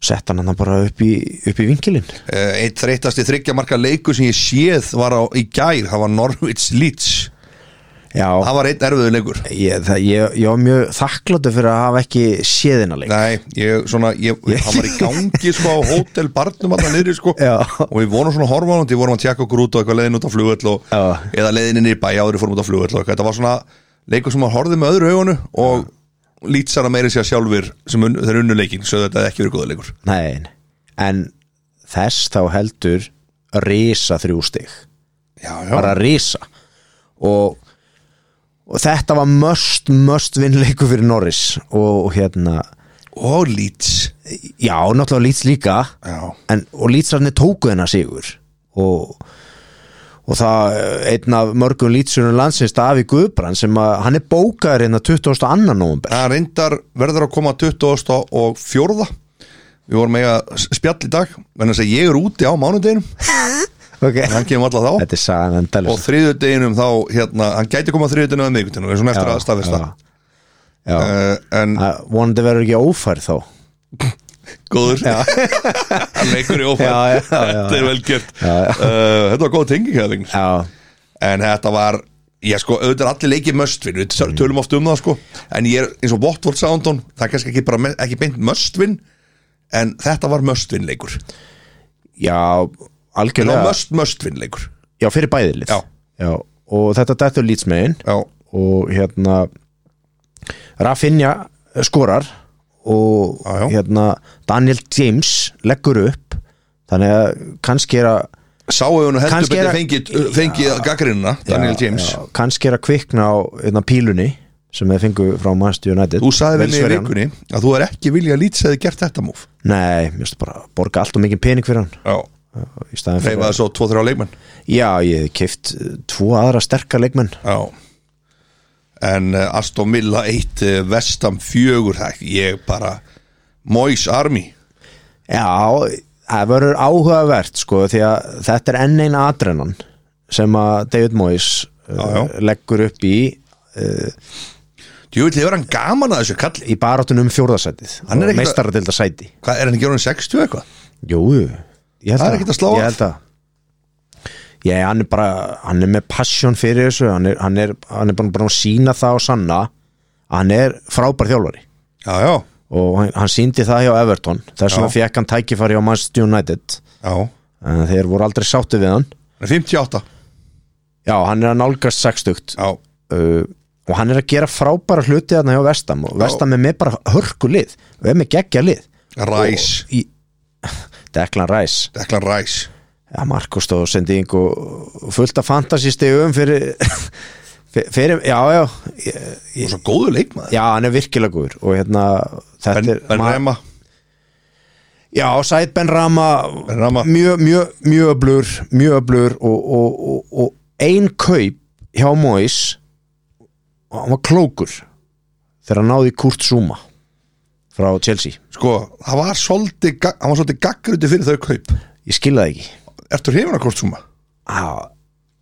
sett hann hann bara upp í, upp í vinkilinn
Eh, eitt þreytasti þryggja marka leiku sem ég séð var á, í gær, það var Norwich Leeds
Já,
það var einn erfiður leikur
ég, það, ég, ég var mjög þakkláttu fyrir að hafa ekki séðina leik
Nei, ég, svona, ég, hann var í gangi sko á hótel barnum alltaf niðri sko
Já.
og við vorum svona horfanandi, við vorum að tjekka okkur út og eitthvað leiðin út á flugvöll og
Já.
eða leiðin inn í bæ áður en við fórum út á flugvöll og eitthvað, þetta var svona leikur sem maður horfði með öðru augunu og lýtsara meiri sér sjálfur sem un, þeir unnu leikin, svo þetta hefði ekki verið góða leikur
Nei, en þess þá heldur risa þrjú stig
já,
bara
já,
risa og, og þetta var möst, möst vinnleiku fyrir Norris og, og hérna
og Leeds
já, náttúrulega Leeds líka
já,
en, og Leedsarnir tóku hennar sigur og, og það eh, einn af mörgum Leedsunum landsins Daví Guðbrand sem að hann er bókaður hérna 22. november
það reyndar verður að koma 20. og fjórða við vorum eiga spjall í dag en þess að ég er úti á mánudeginum
okay.
hann kemur alla þá
þetta er sagan um
og
endalist
þriðudeginum þá hérna, hann gæti koma þriðudeginum eða miðvikudaginu, við erum svona eftir að staðfesta
já, já.
uh, en
Uh, vonandi verður ekki ófær þá
góður hann leikur í ófæð
Já, já, já, já.
þetta er vel gert Uh, þetta var góð tenging hérna, Vignis.
já,
en þetta var ég sko, auðvitað er allir leikið möstvin við
Mm.
tölum oft um það sko en ég er eins og Votvort Soundon, það er kannski ekki, bara, me- ekki beint möstvin en þetta var möstvin leikur
já
en á
algjörlega
möst möstvin leikur
já, fyrir bæðilið
Já.
Já, og þetta dættur lýtsmegin
já,
og hérna Rafinha skorar og
Já, já.
hérna Daniel James leggur upp þannig að kannski er að
sáu hún heldur
Kannski er
betur
að-
fengið, fengið gaggrinuna, Daniel James
já, kannski er að kvikna á hérna, pílunni sem þeir fengu frá Manchester United
þú sagði við mig í
Velsverjan.
vikunni að þú er ekki vilja lítið að gert þetta múf
Nei, mér finnst bara að borga allt og mikið pening fyrir hann
já,
í staðin fyrir
reyfaði svo 2-3 leikmenn
Já, ég hef keift tvo aðra sterka leikmenn
já en uh, Aston Villa 1 uh, Vestam 4 það, ég bara Moise Army
Já, það verður áhugavert sko því að þetta er enn eina adrenan sem að David Moyes já,
já.
leggur upp í
Jú, hefur hann gaman að þessu kalli
í barátunum um fjórðasætið
Hann er
og
ekkert að-
meistaradelda sæti
Hvað, er hann ekki orðin 60 eitthvað?
Jú, ég held
Það er ekkert að slá
Ég
af.
held að Já, hann er bara, hann er með passion fyrir þessu, hann er, hann er, hann er bara, bara að sína það og sanna að hann er frábær þjálfari
Já, já,
og hann, hann síndi það hjá Everton þess vegna
Já.
fekk hann tækifæri á Manchester United
já
en þeir voru aldrei sáttu við hann
Hann er 58
Já, hann er að nálgast sextugt
Já,
uh, og hann er að gera frábæra hluti þarna hjá Vestam og Vestam er með bara hörku lið og er með geggja lið
Ræs
og í, Declan Rice
Deklan Ræs
ja, Markus stóð sendi einhver fullt af fantasystegum fyrir, fyr- fyrir já, já, ég-
Og svo góðu leikmaður
já, hann er virkilega góður og hérna þetta
Ben,
er
ben
ma-
Rema
já, Sæt Ben Rama
Ben Rama.
mjög, mjög, mjög öblur mjög öblur og, og, og, og ein kaup hjá Mois og hann var klókur þegar hann náði Kurt Zuma frá Chelsea
Sko, það var svolítið ga- Hann var svolítið gaggruti fyrir þau kaup
ég skil það ekki
Ertu hrifin að hvort suma?
já,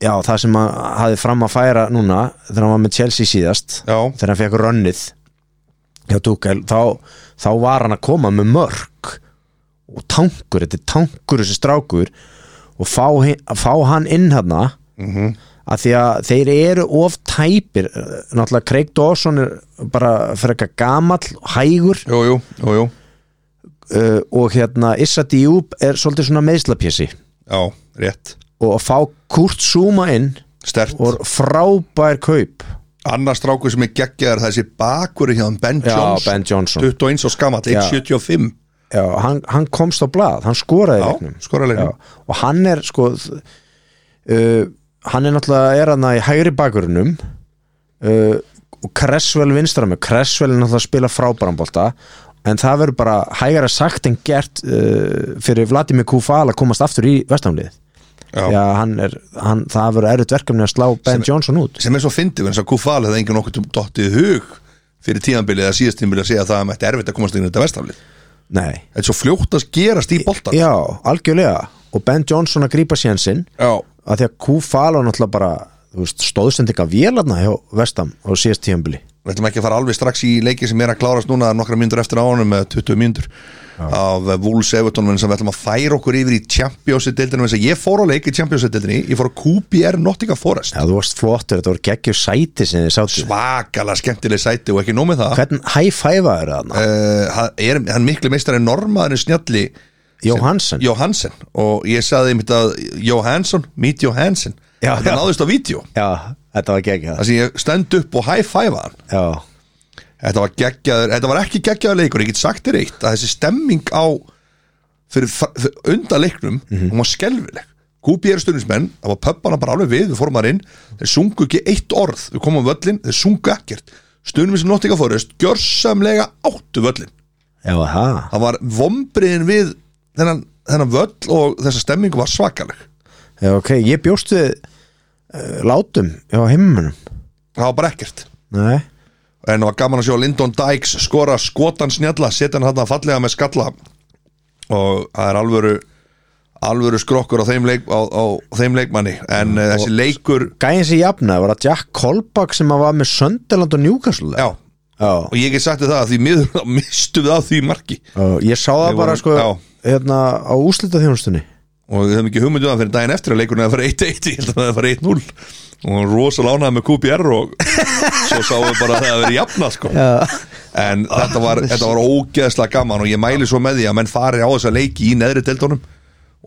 já, það sem hann hafði fram að færa núna þegar hann var með Chelsea síðast
Já,
þegar hann fekk rönnið hjá Tuchel þá, þá var hann að koma með mörg og tankur, þetta er tankur þessi strákur og fá, hin- að fá hann inn hann mm
Mhm.
að því að þeir eru of tæpir náttúrulega Craig Dawson er bara frekar gamall, hægur
jú, jú, jú, jú Eh.
uh, og hérna Issa Diop er svolítið svona meðslapjessi
Já, rétt
og að fá Kurt Zuma inn
Stert
og frábær kaup
Annar strákur sem er geggjaður þessi bakur hjá hann Ben
Já,
Jones
Ben Johnson
21 og skamall, 1.75
Já, hann, hann komst á blað, hann skoraði í
Já,
leiknum
skora
Já,
leiknum
og hann er sko þ- uh, hann er náttúrulega er hann í hægri bakurunum uh, og Kressvel vinstra með Kressvel er náttúrulega að spila frábærambolta en það verður bara hægara sagt en gert uh, fyrir Vladimir Kufal að komast aftur í vestamlið
Já.
Já, hann er, hann, það verður erut verkefni að slá Ben Johnson út
sem er svo fyndið, en svo Kufal hefði enginn okkur dottið í hug fyrir tíðanbilið eða síðastíðanbilið að segja að það er mætti erfitt að komast inn í þetta vestaflið
Nei,
þetta er svo fljótt að gerast í boltan
já, algjörlega og Ben Johnson að grípa sénsinn
já,
að því að Kufal var náttúrulega bara þú veist, stóðsendinga vélarna hjá Vestam á síðast tíðanbili
við ætlum ekki að fara alveg strax í leiki sem er að klárast núna það er nokkra myndur eftir ánum með 20 myndur af eh, Wolves Everton en sem við ætlum að færa okkur yfir í Champions-deildinu þess að ég fór á leik í Champions-deildinu ég fór á QPR Nottingham Forest
Já, þú varst flottur, þetta voru geggjur sæti sem þið sáttu
svakalega skemmtileg sæti og ekki nómið það
Hvern hæfæfa er það?
uh, hann er, hann miklu meistari normaðurinn snjalli
Jóhansen?
Johansen og ég sagði einmitt að Johansson, meet Johansen
Já,
þetta
já.
náðist á vídeo
Já, þetta var geggjur
þar sem ég stend upp og high-five hann
Já,
þetta var, geggjaður, þetta var ekki geggjaður leikur ég get sagt þér
Mhm.
eitt að þessi stemming á fyrir, fyrir undan leiknum hún var skelfileg Kúpi er stundinsmenn, það var pöppana bara alveg við, við fórum að inn, þeir sungu ekki eitt orð, við komum á völlin, þeir sungu ekkert. Stundum sem Nottingham Forest, gjörsamlega áttu völlin.
Já, það
Það var vombriðin við þennan, þennan völl og þessa stemmingu var svakaleg.
Já, ok, ég bjóst við uh, látum hjá himmunum
Það var bara ekkert.
Nei,
En það var gaman að sjá Lyndon Dykes skora skotan snjalla, setja hann þarna fallega með skalla og það er alvöru alvöru skrokkur á þeim, leik, á, á þeim leikmanni en mm, þessi leikur,
gæðin sem jafna var að Jack Kolbach sem að var með Söndaland og Newcastle
já
Já,
og ég get sagt þér það að því miður þá mistum við af því marki
og ég sá það
Við
bara
vorum-
sko
já.
hérna á úslita þjónustunni
og við höfum ekki hugmyndum að fyrir daginn eftir að leikurinn að fara 1-1, ég held að það fara 1-0 og hann rosalega ánæði með QPR og svo sáum við bara að það að vera jafna sko. en þetta var, þetta var ógeðslega gaman og ég mæli svo með því að menn fari á þessa leiki í neðri deildunum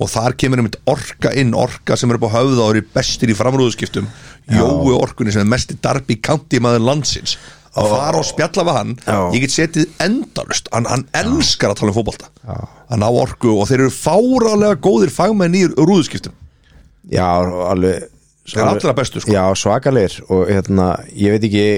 og þar kemur einmitt orka inn orka sem er upp á höfða og eru bestir í framrúðuskiptum Jói orkunni sem er mest í darbi kanti maður landsins að fara og spjalla við hann
Já.
ég get setið endalust hann, hann elskar að tala um fótbolta hann á orku og þeir eru fáralega góðir fagmenn í rúðuskiptum
Já, alveg
Þeir eru allra bestu, sko.
Já, svakalegir og hérna, ég veit ekki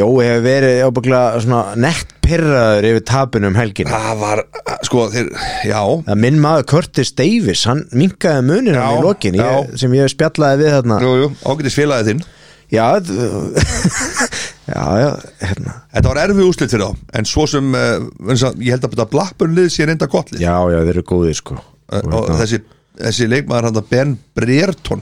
Jói hefur verið ábygglega svona nett pyrraður yfir tapinu um helginu
það var, sko, þeir, já
að minn maður Curtis Davis, hann minkaði munir
Já,
hann í lokin ég,
já.
sem ég spjallaði við þarna
jú, jú, ágætis félagið þinn
Já, d- já, já, hérna
þetta var erfið úslit fyrir þá en svo sem, uh, ég held að þetta Blackburn lið sé reynda gott lið
Já, já, þeir eru góðir sko
Eh, og þessi, þessi leikmaður hann að Ben Brereton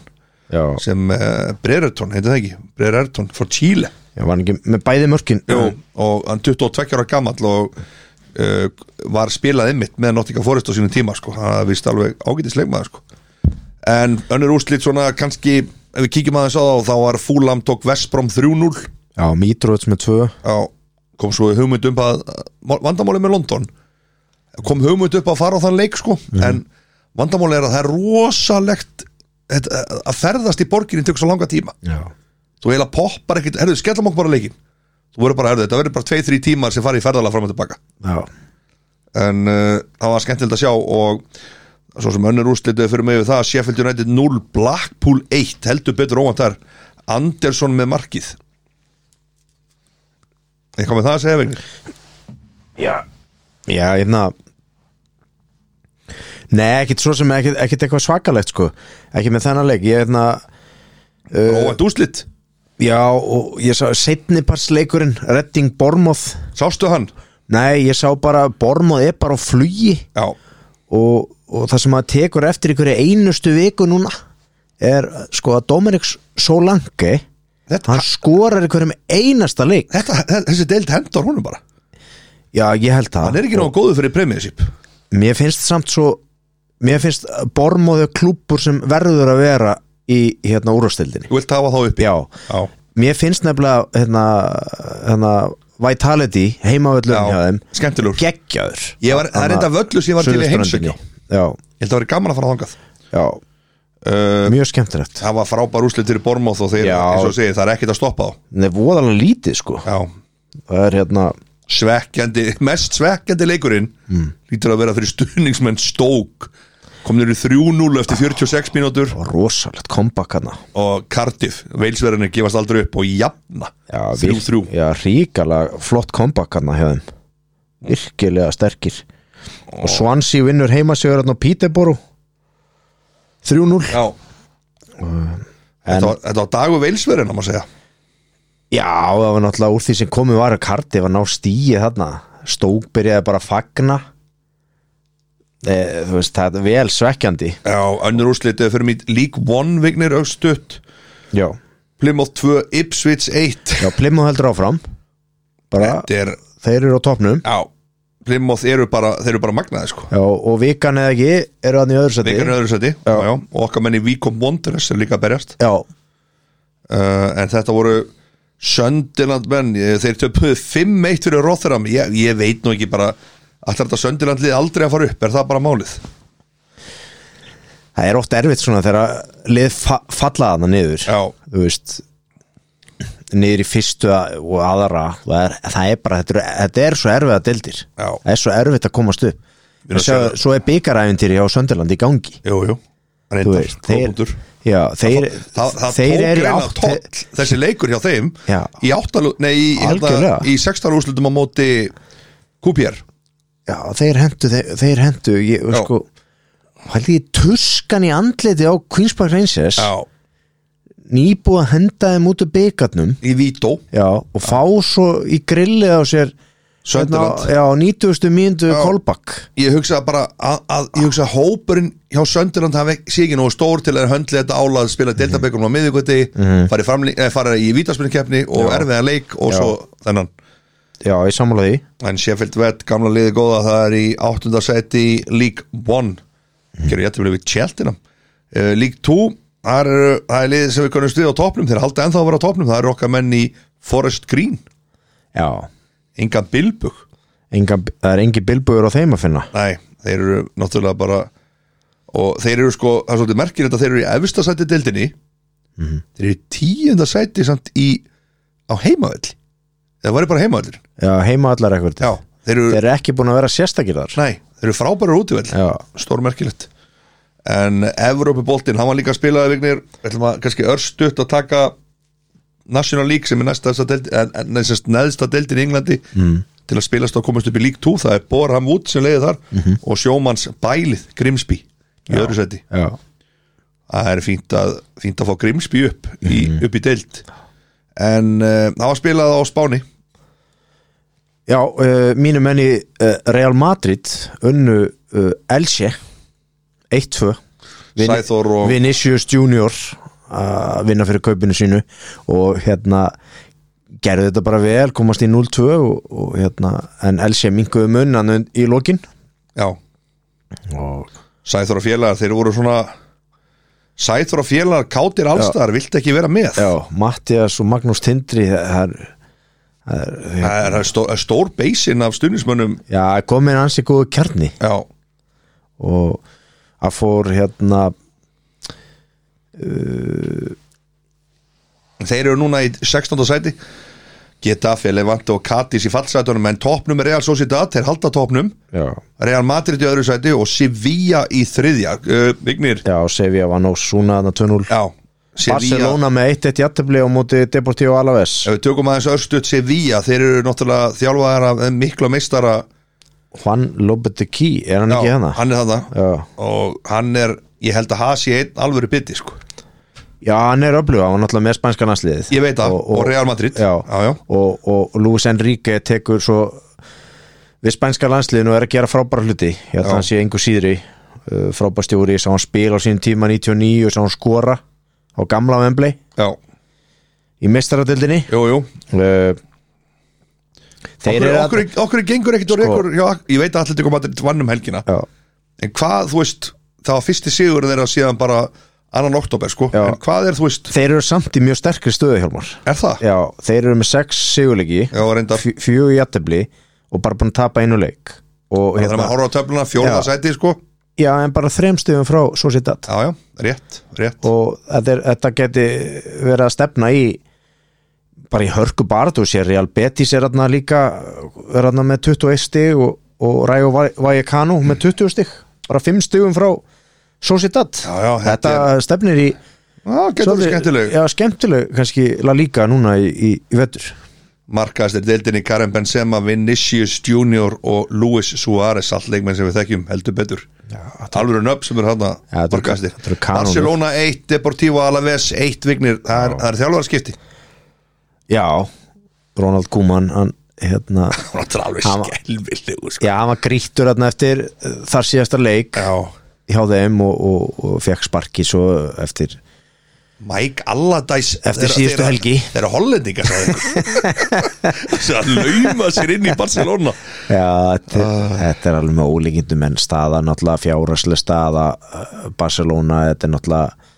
Já,
sem uh, Brereton, heitir það ekki Brereton frá Chile
já, var hann ekki með bæði mörkin
Jú, og hann 22 ára gamall og uh, var spilað einmitt með Nottingham Forest á sínum tíma sko. hann er vist alveg ágætisleikmaður sko. en önnur úrslit svona kannski ef við kíkjum aðeins á það þá var Fúlam tók Vestbrom 3-0
Já, Mitrovic með tvö
Já, kom svo hugmynd upp að vandamáli með London kom hugmynd upp að fara á þann leik sko en vandamáli er að það er rosalegt þetta, að ferðast í borginni tekur svo langa tíma
Já,
þú heila poppar ekkert, herðu, skellum okkur bara leikin þú verður bara, herðu, þetta verður bara 2-3 tímar sem fara í ferðalega fram og tilbaka
já,
en uh, það var skemmtilegt að sjá og svo sem önnur úrslitið fyrir mig við það, Sheffield United 0 Blackpool 1, heldur betur óvænt þar Andersson með markið eitthvað með það að segja veginn
já hérna Nei, ekkit svo sem, ekkit, ekkit eitthvað svakalegt sko Ekki með þennan leik, ég hérna
Óvænt úrslit,
Já, og ég sá setniparsleikurinn Redding Bormoth
sástu hann
Nei, ég sá bara, Bormoth er bara á flugi
Já,
og, og það sem maður tekur eftir ykkur einustu viku núna er sko að Dominic Solange
þetta,
hann skorar ykkur um einasta leik
þetta, þessi deild hendar honum bara
já ég held
Hann
það
er ekki náðu góðu fyrir premiership
mér finnst samt svo mér finnst bormóðu klúpur sem verður að vera í hérna úrvastildinni
Þú vilt hafa þá uppi
já,
Já,
mér finnst nefnilega hérna, hérna Vitality heimavöllum hjá
já
þeim
skemmtilegur
geggjaður
Ég var, það er enda völlu sem ég var til í heimsökja Ég
já,
held að það væri gaman að fara þangað
já,
uh,
mjög skemmtilegt
Það var frábær úrslit fyrir Bormóð og þeir,
Já.
eins og segir, það er ekkert að stoppa þá
það er voðalega lítið sko
Já,
það er hérna
svekkjandi, mest svekkjandi leikurinn
Hmm.
Lítur að vera fyrir stuðningsmenn Stoke Komnir í 3-0 eftir 46 mínútur
og rosalegt comeback hana
Og Cardiff, veilsverðinni gefast aldrei upp Og jafna,
já, vir-
3-3
já, ríkala flott comeback hana hjá þeim virkilega sterkir og Swansea vinnur heimasigur hérna á Peterborough 3-0
Já Þetta var, þetta var dagu veilsverðin að maður segja
já, það var náttúrulega úr því sem komið var að karti var ná stíið þarna Stók byrjaði bara að fagna e, þú veist, það er vel svekkjandi
Já, önnur úrslitið fyrir mít League One vignir augstutt
já,
Plymouth 2, Ipswich 1
já Plymouth heldur áfram bara,
Þetta er,
þeir eru á topnum
já Plymouth eru bara, þeir eru bara magnaði sko
já, og vikan eða ekki eru hann í öðru seti
Vikarinn öðru seti, já. já Og okkar menni Víkom Wanderers er líka að berjast
já,
uh, En þetta voru Söndiland menn Ég- Þeir töpuðu 5-1 fyrir Rotherham ég, ég veit nú ekki bara Allt þetta Söndiland lið aldrei að fara upp, er það bara málið?
Það er oft erfitt svona þegar lið fa falla þarna niður
Já,
Þú veist Niður í fyrstu a- og aðra Það er, það er bara, þetta er, þetta er svo erfitt að deildir
Já.
Það er svo erfitt að komast upp
erum að
Sjá,
sjá það.
Svo er byggaræfintir hjá Sönderland í gangi
jú, jú reyndar,
veist, þeir-
góðbútur
já, þeir,
það, það
þeir
tók
eru í
reyna
átt
tótt þessi leikur hjá þeim
Já.
í áttalu, nei, í, hérna,
Algjörlega.
í sextalu úrslutum á móti QPR
já, þeir hendu, þeir, þeir hendu ég,
Já.
sko, hældi ég tuskan í andliti á Queen's Park Rangers
já,
nýbúið að henda þeim út úr byggarnum
í Vító
já, og fá svo í grillið á sér
Sunderland.
hérna á- já, 90. mínútu kolbakk
ég hugsa bara að, að ég hugsa að hópurinn hjá Sönderland hafi ekki- sé ekki nógu stór til að höndla þetta álað spila deltabökunum á miðvíkvöldi fari, framlí- eh, fari í vítaspinnkeppni og
Mhm. Já.
erfiðan leik og
Já.
svo þennan
já, ég sammála því
en Sheffield Vett, gamla liði góða það er í áttundarsæti í League 1 gerur ég þetta við Cheltenham uh, League 2 það er, það er liðið sem við konum stuði á topnum þeir halda ennþá að vera á topnum, það eru okkar menn í Forest Green,
já,
Inga Bilbug
Enga, það er engi bilbugur á þeim að finna
nei, þeir eru náttúrulega bara og þeir eru sko, það er svolítið merkir þetta þeir eru í efsta sæti deildinni þeir eru í tíunda sæti samt í á heimavöll það var bara heimavöllur
já, heima allar ekkert
já, þeir eru,
þeir eru ekki búin að vera sérstakir þar
nei, þeir eru frábærar útivöll
já,
stórmerkilegt en Evrópuboltinn, hann var líka að spila vignir, ætlum að kannski örstutt að taka National League sem er næsta deldi, en, en, nei, sem sagt neðsta deildin í Englandi mm. til að spilast og komast upp í League 2 það er Borham Wood sem leiði þar og sjómanns Bælið Grimsby í öðru seti,
Mhm. já,
það er fínt að, fínt að fá Grimsby upp í,
Mhm.
upp í deild en uh, það var spilað á Spáni
já uh, mínu menni uh, Real Madrid unnu uh, Elche 1-2 Vin-
Sæþór og
Vinicius Junior að vinna fyrir kaupinu sínu og hérna gerðu þetta bara vel, komast í 0-2 og, og hérna, en Elche minkuðu munnan í lokin
já,
og
Sæþór og félagar, þeir voru svona Sæþór og félagar kátir allstaðar, viltu ekki vera með
já, Mattias og Magnús Tindri það er
Það er- það er stór, stór beisin af stuðnismönnum
já, komin ansi góðu kjarni
Já,
og að fór hérna
þeir eru núna í 16. sæti Getafe, Levante og Katis í fallsætunum en topnum er Real Sociedad, þeir halda topnum
já,
Real Madrid í öðru sæti og Sevilla í þriðja uh, Vignir,
já Sevilla var nóg súna þarna 2-0
já Sevilla,
Barcelona með 1-1 jættabli á móti Deportivo Alaves
ef við tökum aðeins örstuðt Sevilla þeir eru náttúrulega þjálfaðar af þeim mikla meistara
Juan Lopetegui, er hann ekki hérna?
hann er þarna
Já.
og hann er, ég held að hasi einn alvöru biti sko,
já, hann er öfluga, hann var náttúrulega með spænska landsliðið
ég veit það, og, Real Madrid
já,
já, já.
Og, og Luis Enrique tekur svo við spænska landsliðinu og er að gera frábæra hluti ég
Já.
held að hann sé engu síðri uh, frábæra stjóri, ég sá hann spila á sínum tíma 99 og sá hann skora á gamla vembli
já,
í mestaradildinni
jú, jú
uh, þeir
okkur,
eru
okkur, okkur gengur ekkert og
Sko-
rekur hjá, ég veit að allir koma að vann um helgina
já,
en hvað, þú veist, það var fyrsti sigur þeirra síðan bara annan oktober sko.
Já.
en hvað er, þú veist,
þeir eru samt í mjög sterkri stöðu Hjálmar
er það?
já, þeir eru með 6 sigurleiki
Já, reyndar,
fjögur jættefli og bara búin að tapa einu leik og
það er maður
hérna,
horfa á töfluna fjórða
Já.
sæti, sko
já, en bara þremstöðum frá Sociedad
já, já, rétt, rétt
og þetta, er, þetta geti verið að stefna í bara í hörku barð og sér Real Betis er hann líka er hann með 21 stig og, og Rayo Va- Vallecano með 20 stig bara 5 stigum frá Sociedad
já,
þetta,
þetta
stefnir í
það getur verið
svolítið-
skemmtileg
já, skemmtileg kannski La Liga núna í, í, í vettur
markaðast er deildinni Karen Benzema, Vinicius Junior og Luis Suárez allt leikmenn sem við þekkjum heldur betur alveg nöpp sem er hann
Já, þetta eru-
markaðastir
þetta eru kanónur.
Barcelona 1, Deportivo Alaves 1 vignir, það er, það er þjálfarskipti
já, Ronald Koeman hann hérna
það er alveg
Hann var-
skelvillig sko.
Já, hann var grýttur þarna eftir uh, þar síðasta leik
já,
hjá þeim og, og, og fekk sparki svo eftir
Mike Allardyce
Eftir
þeirra-
síðustu
þeirra-
helgi.
Þeirra hollendinga sagði einhver. Þessi að lauma sér inn í Barcelona
Já, þetta, þetta er alveg með ólíkindum en staða náttúrulega fjáraslega staða uh, Barcelona, þetta er náttúrulega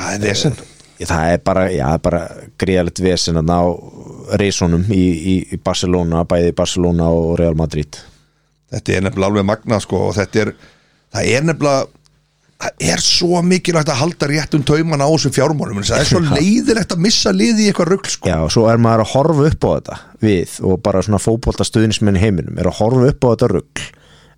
Það er vesen
það er bara, já, það er bara gríðalegt vesen að ná reisunum í, í, í Barcelona, bæði Barcelona og Real Madrid
Þetta er nefnilega alveg magna sko og þetta er, það er nefnilega það er svo mikilvægt að halda rétt um tauman á þessum fjármálum en það er svo leiðilegt að missa liði í eitthvað rugl sko
Já, og svo er maður að horfa upp á þetta við og bara svona fótbolta stuðnismenn í heiminum er að horfa upp á þetta rugg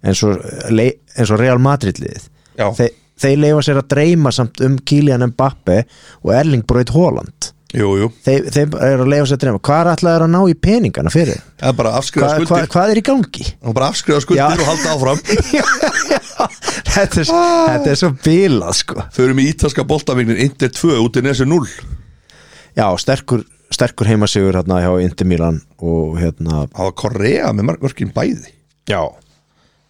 eins og, le- eins og Real Madrid liðið
Já.
Þe, þeir leifa sér að dreyma samt um Kylian Mbappe og Erling Braut Haaland
jú, jú,
þeir, þeir eru að leifa sér að dreyma hvað er alltaf að ná í peningana fyrir
það er bara að afskrifa
hvað, hvað,
skuldir
hvað er í gangi
og bara afskrifa skuldir
Já.
og halda áfram
þetta, er, þetta er svo bilað sko
þau eru með ítalska boltavignin Inter 2 út í nesi 0
já, sterkur, sterkur heimasigur hérna hjá Inter Milan og hérna,
það var Korea með mar- mörkin bæði
já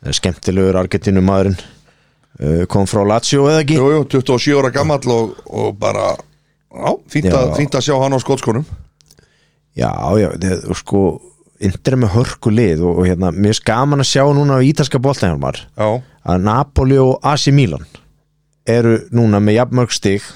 Eh, skemmtilegur Argentinum maðurinn uh, kom frá Lazio eða ekki
jú, jú, 27 ára gammal og, og bara já, fínt, að,
Já.
fínt að sjá hann á skotskónum
Já, já, þið, og sko Inter er með hörku lið og, og hérna, mér er skaman að sjá núna á ítalska boltanhjálmar
já,
að Napoli og AC Milan eru núna með jafnmörg stig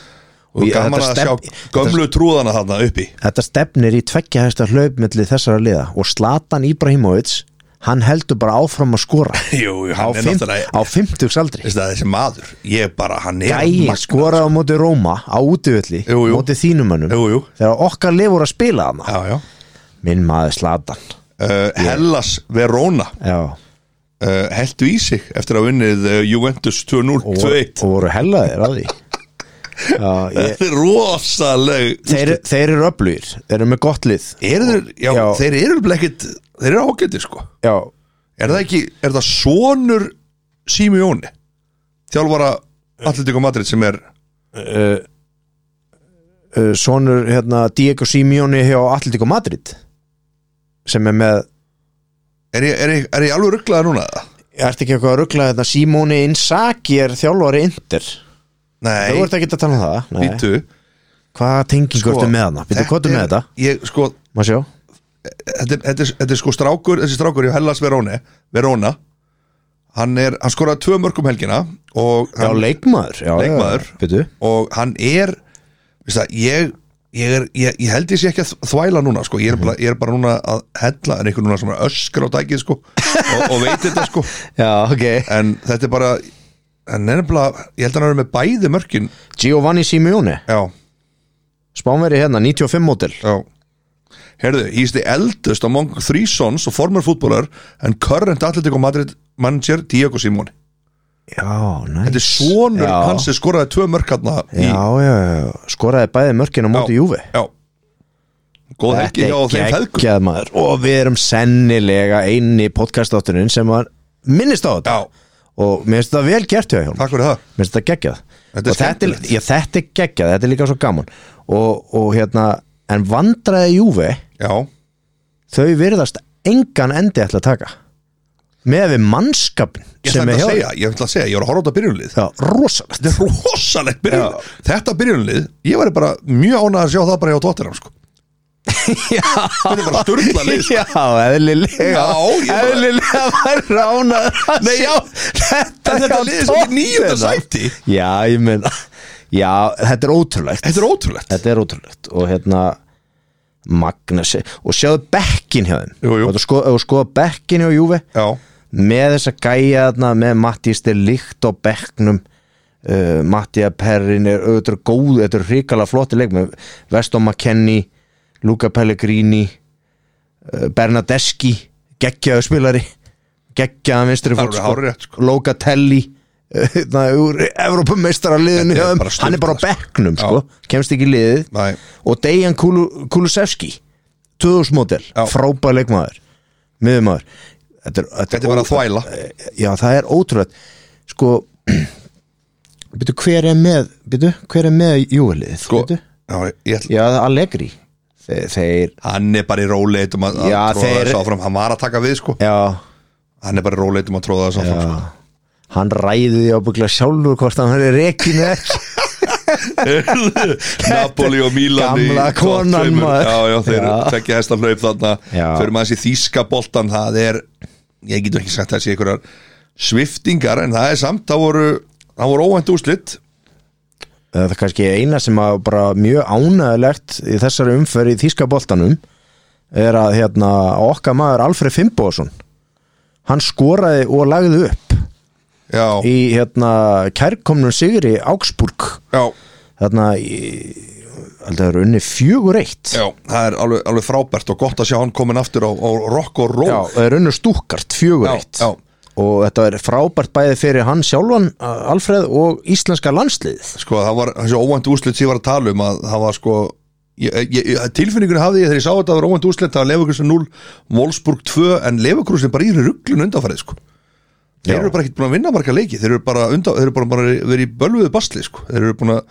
og
ég-
gaman að
stefn-
sjá gömlu trúðana þarna uppi
þetta stefnir í tveggja hæsta hlaup milli þessara liða og Zlatan Ibrahimovic hann heldur bara áfram að skora
jú, jú,
á,
hann er
fimm,
náttúrulega
á 50 aldri
Veist það, þessi maður, ég bara, hann er
Gæi
magnaður.
skoraði á móti Róma á útivölli
Jú, jú.
móti þínumönnum
Jú, jú.
þegar okkar lið voru að spila hana
já, já.
minn maður Zlatan
Uh, Hellas Verona
Já,
uh, heldu í sig eftir að hafa unnið uh, Juventus 2-0
og, voru-
2-1
og voru hellaðir að því Já, ég,
Þetta er rosaleg
þeir, þeir eru öflugir, þeir eru með gott lið
eru þeir, já,
Já.
þeir eru nefnilega ekkit þeir eru ágættir sko
Já,
er það ekki, er það sonur Simeone þjálfara Atletico Madrid sem er
uh, Eh, sonur hérna, Diego Simeone hjá Atletico Madrid sem er með
er ég, er ég, er ég alveg rugglaða núna eða?
Ertu ekki eitthvað að ruggla hérna Simone Inzaghi er þjálfari Inter Þú
nei,
ert ekki að tala um það Nei.
býtu
Hvað tengingu sko, ertu með hana? Býttu, hvað ertu með þetta?
ég, sko,
Má sjá
þetta, er- þetta, er, þetta er sko strákur þessi strákur hjá Hellas Verone Verona hann, er, hann skoraði tvö mörgum helgina og
Já,
hann,
leikmaður já,
Leikmaður.
já, Býttu
og hann er veist það, ég, ég, er, ég, ég held ég sé ekki að þ- þvæla núna sko.
Mhm.
ég, er bara, ég er bara núna að hella en einhver núna sem er öskra á dækið sko, og, og veit þetta sko
Já, ok
en þetta er bara en nefnilega, ég held að hann er með bæði mörkin
Giovanni Simeone
já,
Spánveri hérna, 95 mótil
já Herðu, he's the eldest among three sons og former footballer and current Atletico Madrid manager Diego Simone
Já, næs
Þetta er svonur
Já.
hans sem skoraði tvö mörk hann í
Já, já, já, skoraði bæði mörkin á móti Júfi
Já Góð helgi hjá
Þetta
þeim
er
feðgum
geggjað maður Og við erum sennilega eini podcastáttunin sem var minnist á þetta
Já,
Og mér finnst þetta vel gert hjá hjá
takk fyrir það
Mér finnst þetta geggjað
Þetta er
Og þetta er,
skemmtilegt.
já, þetta er geggjað, þetta er líka svo gaman Og, og hérna, en vandraði Júfi
Já,
Þau virðast engan endi ætla að taka Með við mannskapn
ég
sem
ætla
er
að
hjá
segja, ég ætla að segja, ég var að horfa á þetta byrjunlið
Já, rosalegt
Þetta er rosalegt byrjunlið Þetta byrjunlið, ég væri bara mjög ánað að sjá það bara hjá Tottenham sko Þetta er bara sturla lið sko.
Já, eðlilega
Já, ég bara-
Eðlilega var ránaður að
Nei,
sjá Þetta,
En þetta
hjá
lið sem er nýjunda
toppina.
sæti
Já, ég meina Já, þetta er ótrúlegt
Þetta er ótrúlegt
Þetta er ótrúlegt Og hérna Magnus Og sjáðu bekkin hjá þeim
Jú, jú.
Og sko, og sko bekkin hjá Júfi
Já,
Með þessa gæja þarna Með Mattías til líkt á bekknum uh, Mattías Perrin er auðvitað góð Þetta er hrikalega flotti leik með Veston McKennie Luca Pellegrini uh, Bernadeschi Geggjaðu spilari Geggjaðan vinstri
það er
fólk
hárið rétt sko
Locatelli eh, hérna, úr
Þetta
Evrópumeistaraliðinu
er
hjá þeim.
bara
hann er bara á
sturlað,
bekknum sko. kemst ekki í liðið
Nei,
og Dejan Kulu- Kulusevski 2000 mótel,
Já.
frábær leikmaður miðumæður þetta er,
þetta er bara að
ó-
þvæla
já, það er ótrúlega sko byrju, hver er með byrju, hver er með júliðið
Sko, já, ég ætla
já, Allegri þeir, þeir
Hann er bara í róleit um að, að
Já,
tróða
þeir-
þessu áfram Hann var að taka við sko
já,
Hann er bara í róleit um að tróða þessu áfram sko.
hann ræði því ábyggla sjálfur hvort hann er reikinu ekki
Napoli og Milan í
Gamla
topp
konan,
tveimur.
maður.
Já, já, þeir
Já.
tekja hæsta hlaup þarna
Já.
Fyrir maður þessi þýska boltan Það er, ég getur ekki sagt þessi einhverjar sviftingar En það er samt, það voru, það voru óvænt úrslit
það er kannski eina sem að bara mjög ánægilegt í þessari umferð í þýska boltanum er að hérna okkar maður Alfred Fimboðsson hann skoraði og lagði upp
Já,
í hérna kærkomnum sigri Augsburg
já,
þarna í- held að það eru unni fjögur eitt
já Það er alveg, alveg frábært og gott að sjá hann komin aftur á, á rock og roll
það eru unni stúkart fjögur eitt
já.
og og þetta er frábært bæði fyrir hann sjálfan uh, Alfreð og íslenska landslið
sko það var þessi óvænt úrslit sem ég var að tala um að það var sko ég, ég, ég- tilfinningunni hafði ég þegar ég sá þetta að það var óvænt úrslit það var Lefakursin 0, Wolfsburg 2 en Lefakursin bara í rugglun undanfærið sko þeir
Já.
eru bara ekkert búin að vinna marga leiki þeir eru bara, undan, þeir eru bara, bara verið í bölvuðu basli sko. þeir eru búin að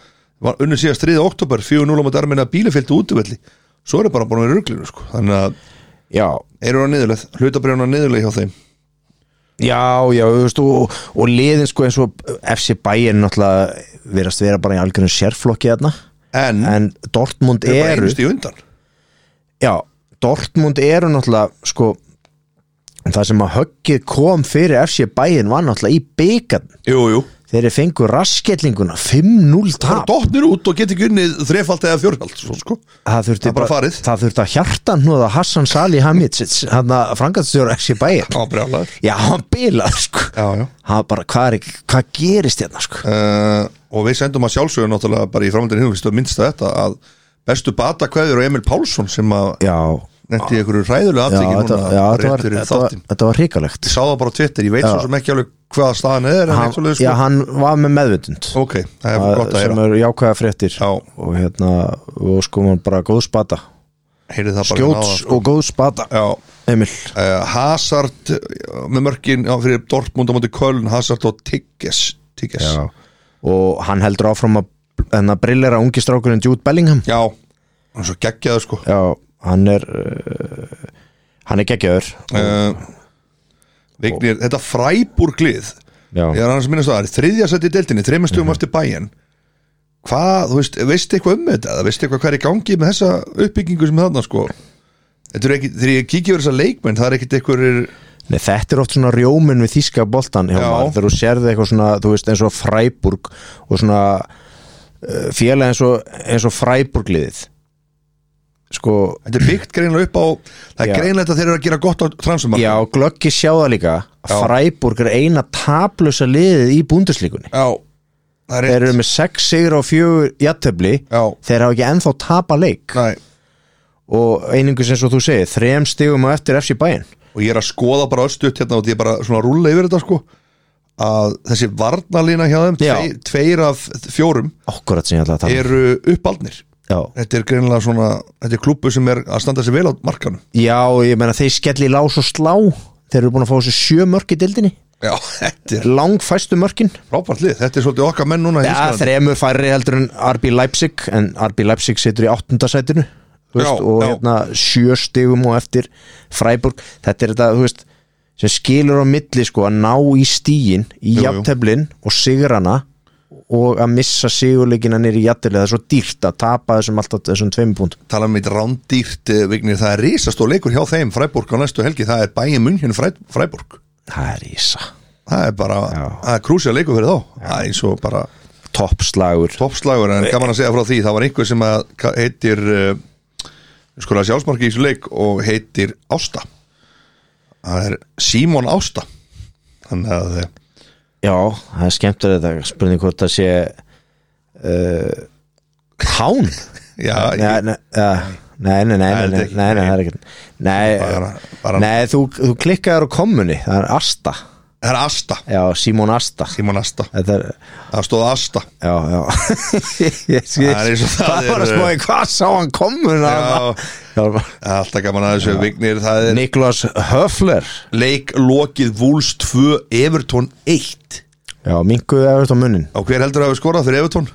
var unnu síðast 3. oktober 4-0 á maður erminna bílefylgdu útvelli svo eru bara búin að vera í rugglinu sko. þannig að
Já,
þeir eru á niðurleið hlutabrjónu á niðurleið hjá þeim
já, já þú veist, og, og liðin sko eins og FC Bayern náttúrulega verðast vera bara í algjörnum sérflokki þarna
en, en
en Dortmund
þeir eru bara
eru
einust í undan
já, Dortmund eru náttúrulega sko en það sem að höggið kom fyrir FC Bayern var náttúrulega í byggarn
jú, jú
þegar þeir fengu raskellinguna 5-0
það er
tap
dottnir út og getur ekki unnið þrefald eða fjórhald svo, sko.
það þurfti
það er bara farið.
það þurfti að hjartan núða Hassan Salih Hamidsits hann að frangatstjóra FC Bayern
á brjálæður
já, hann bilað sko
já, já.
hann bara, hvað, er, hvað gerist hérna sko
Uh, og við sendum að sjálfsögur náttúrulega bara í framhaldinu hugvistu að minnsta þetta að bestu bata kveður og Emil Pálsson sem að
já,
nefndi í einhverju ræðulegu
já,
aftekki
þetta, já
núna
þetta,
rétt
var,
fyrir
þetta, var,
þáttinn
þetta var hrikalegt
ég sá það bara á Twitter, ég veit svo sem ekki alveg hvaða staðan er en
hann,
eitthvað svoleiðis,
já,
sko.
hann var með meðvindund
ok, það er gott að
sem
heyra
eru jákvæða fréttir
Já.
og hérna, og sko hann bara góð spata
heyrið það bara hérna
skjóts
áðan,
og góð spata
sko. já,
Emil,
uh, Hazard uh, með mörkin já, fyrir Dortmund á móti Köln Hazard og Tigges Tigges, já,
og hann heldur áfram að hennar brillera ungi strákurinn Jude Bellingham
já. hann er svo geggjaður sko
já, hann er uh, hann er geggjöður
uh, Vignir, þetta fræbúrglið
já, Mhm.
ég er annars að minnast á það, það er þriðja sett í deildinni þreymur stugum eftir bæin hvað, þú veist, veistu eitthvað um þetta eða veistu eitthvað hvað er í gangi með þessa uppbyggingu sem er þarna sko þetta er ekki, þegar ég kíkja verið þessa leikmenn það er ekkit eitthvað er,
Nei, þetta er oft svona rjóminn við þíska boltan hjá
Já.
maður, þegar þú sérði eitthvað svona þú veist, eins og Freiburg og svona uh, félag eins og, eins og Freiburg liðið sko,
þetta er byggt greinlega upp á það er
Já.
greinlega að þeir eru að gera gott á transumar
já, glöggi sjá það líka
Já.
Freiburg er eina tablösa liðið í búnduslíkunni
það
þeir
er
eru með 6 sigur og 4 jættefli
já,
þeir hafa ekki ennþá tapa leik
næ
og einingus eins og þú segir, þrem stigum á eftir FC Bayern
og ég er að skoða bara östuðt hérna og því ég er bara svona að rúlla yfir þetta sko að þessi varnalína hjá þeim
Já.
tvei, tveir af fjórum
akkurat sem ég ætla að tala um.
eru uppaldnir
já.
þetta er greinilega svona, þetta er klubbu sem er að standa sér vel á markanum
já, ég meina þeir skelli í lás og slá þeir eru búin að fá þessu sjö mörk í dildinni
já, þetta er
langfæstu mörkin
frábært lið, þetta er svolítið okkar menn núna í
ja,
Íslandi.
þremur færri heldur en RB Leipzig en RB Leipzig situr í áttundasætinu
Já,
veist, og
já.
hérna sjö stigum og eftir Freiburg þetta er þetta, þú veist sem skilur á milli sko að ná í stíin
Jú,
í
jú.
jafnteflin og sigrana og að missa sigurleikina nýri jafnteflin, það er svo dýrt að tapa þessum alltaf þessum tveim punktum
tala um eitt rándýrt eh, vignir, það er risastó leikur hjá þeim Fræborg á næstu helgi, það er bæin munn hérna Fræborg,
það er ísa,
það er bara
Já.
það er krúsja leikur fyrir þá, það er eins og bara
toppslagur
toppslagur en gaman að segja frá því, það var einhver sem að ka- heitir uh, skoða sjálfsmarki í þessu leik og heitir Ásta það er Simon Ásta þannig að eh,
já, það er skemmt að þetta spurning hvort það sé uh, hán
já, ég,
Nei, nei, ja, nei,
Nei,
nei, nei, nei,
þetta er
nei,
ekki-
nei, nei, það er ekkert Nei,
bara, bara,
nei þú, þú klikkaður á kommunni Það er Asta,
það er Asta
já, Simon Asta
Simon Asta,
Þetta er,
það stóð Asta
já, já Ég skil-
Það er eins og það
Það var
er-
að spá í hvað sá hann komuna
Já. alltaf gaman að þessu vignir, það er
Niklas Höfler
leik lokið Vúls 2 Evertón 1
Já, minguðu eftir á munnin
og hver heldur að hafa skorað fyrir Evertón?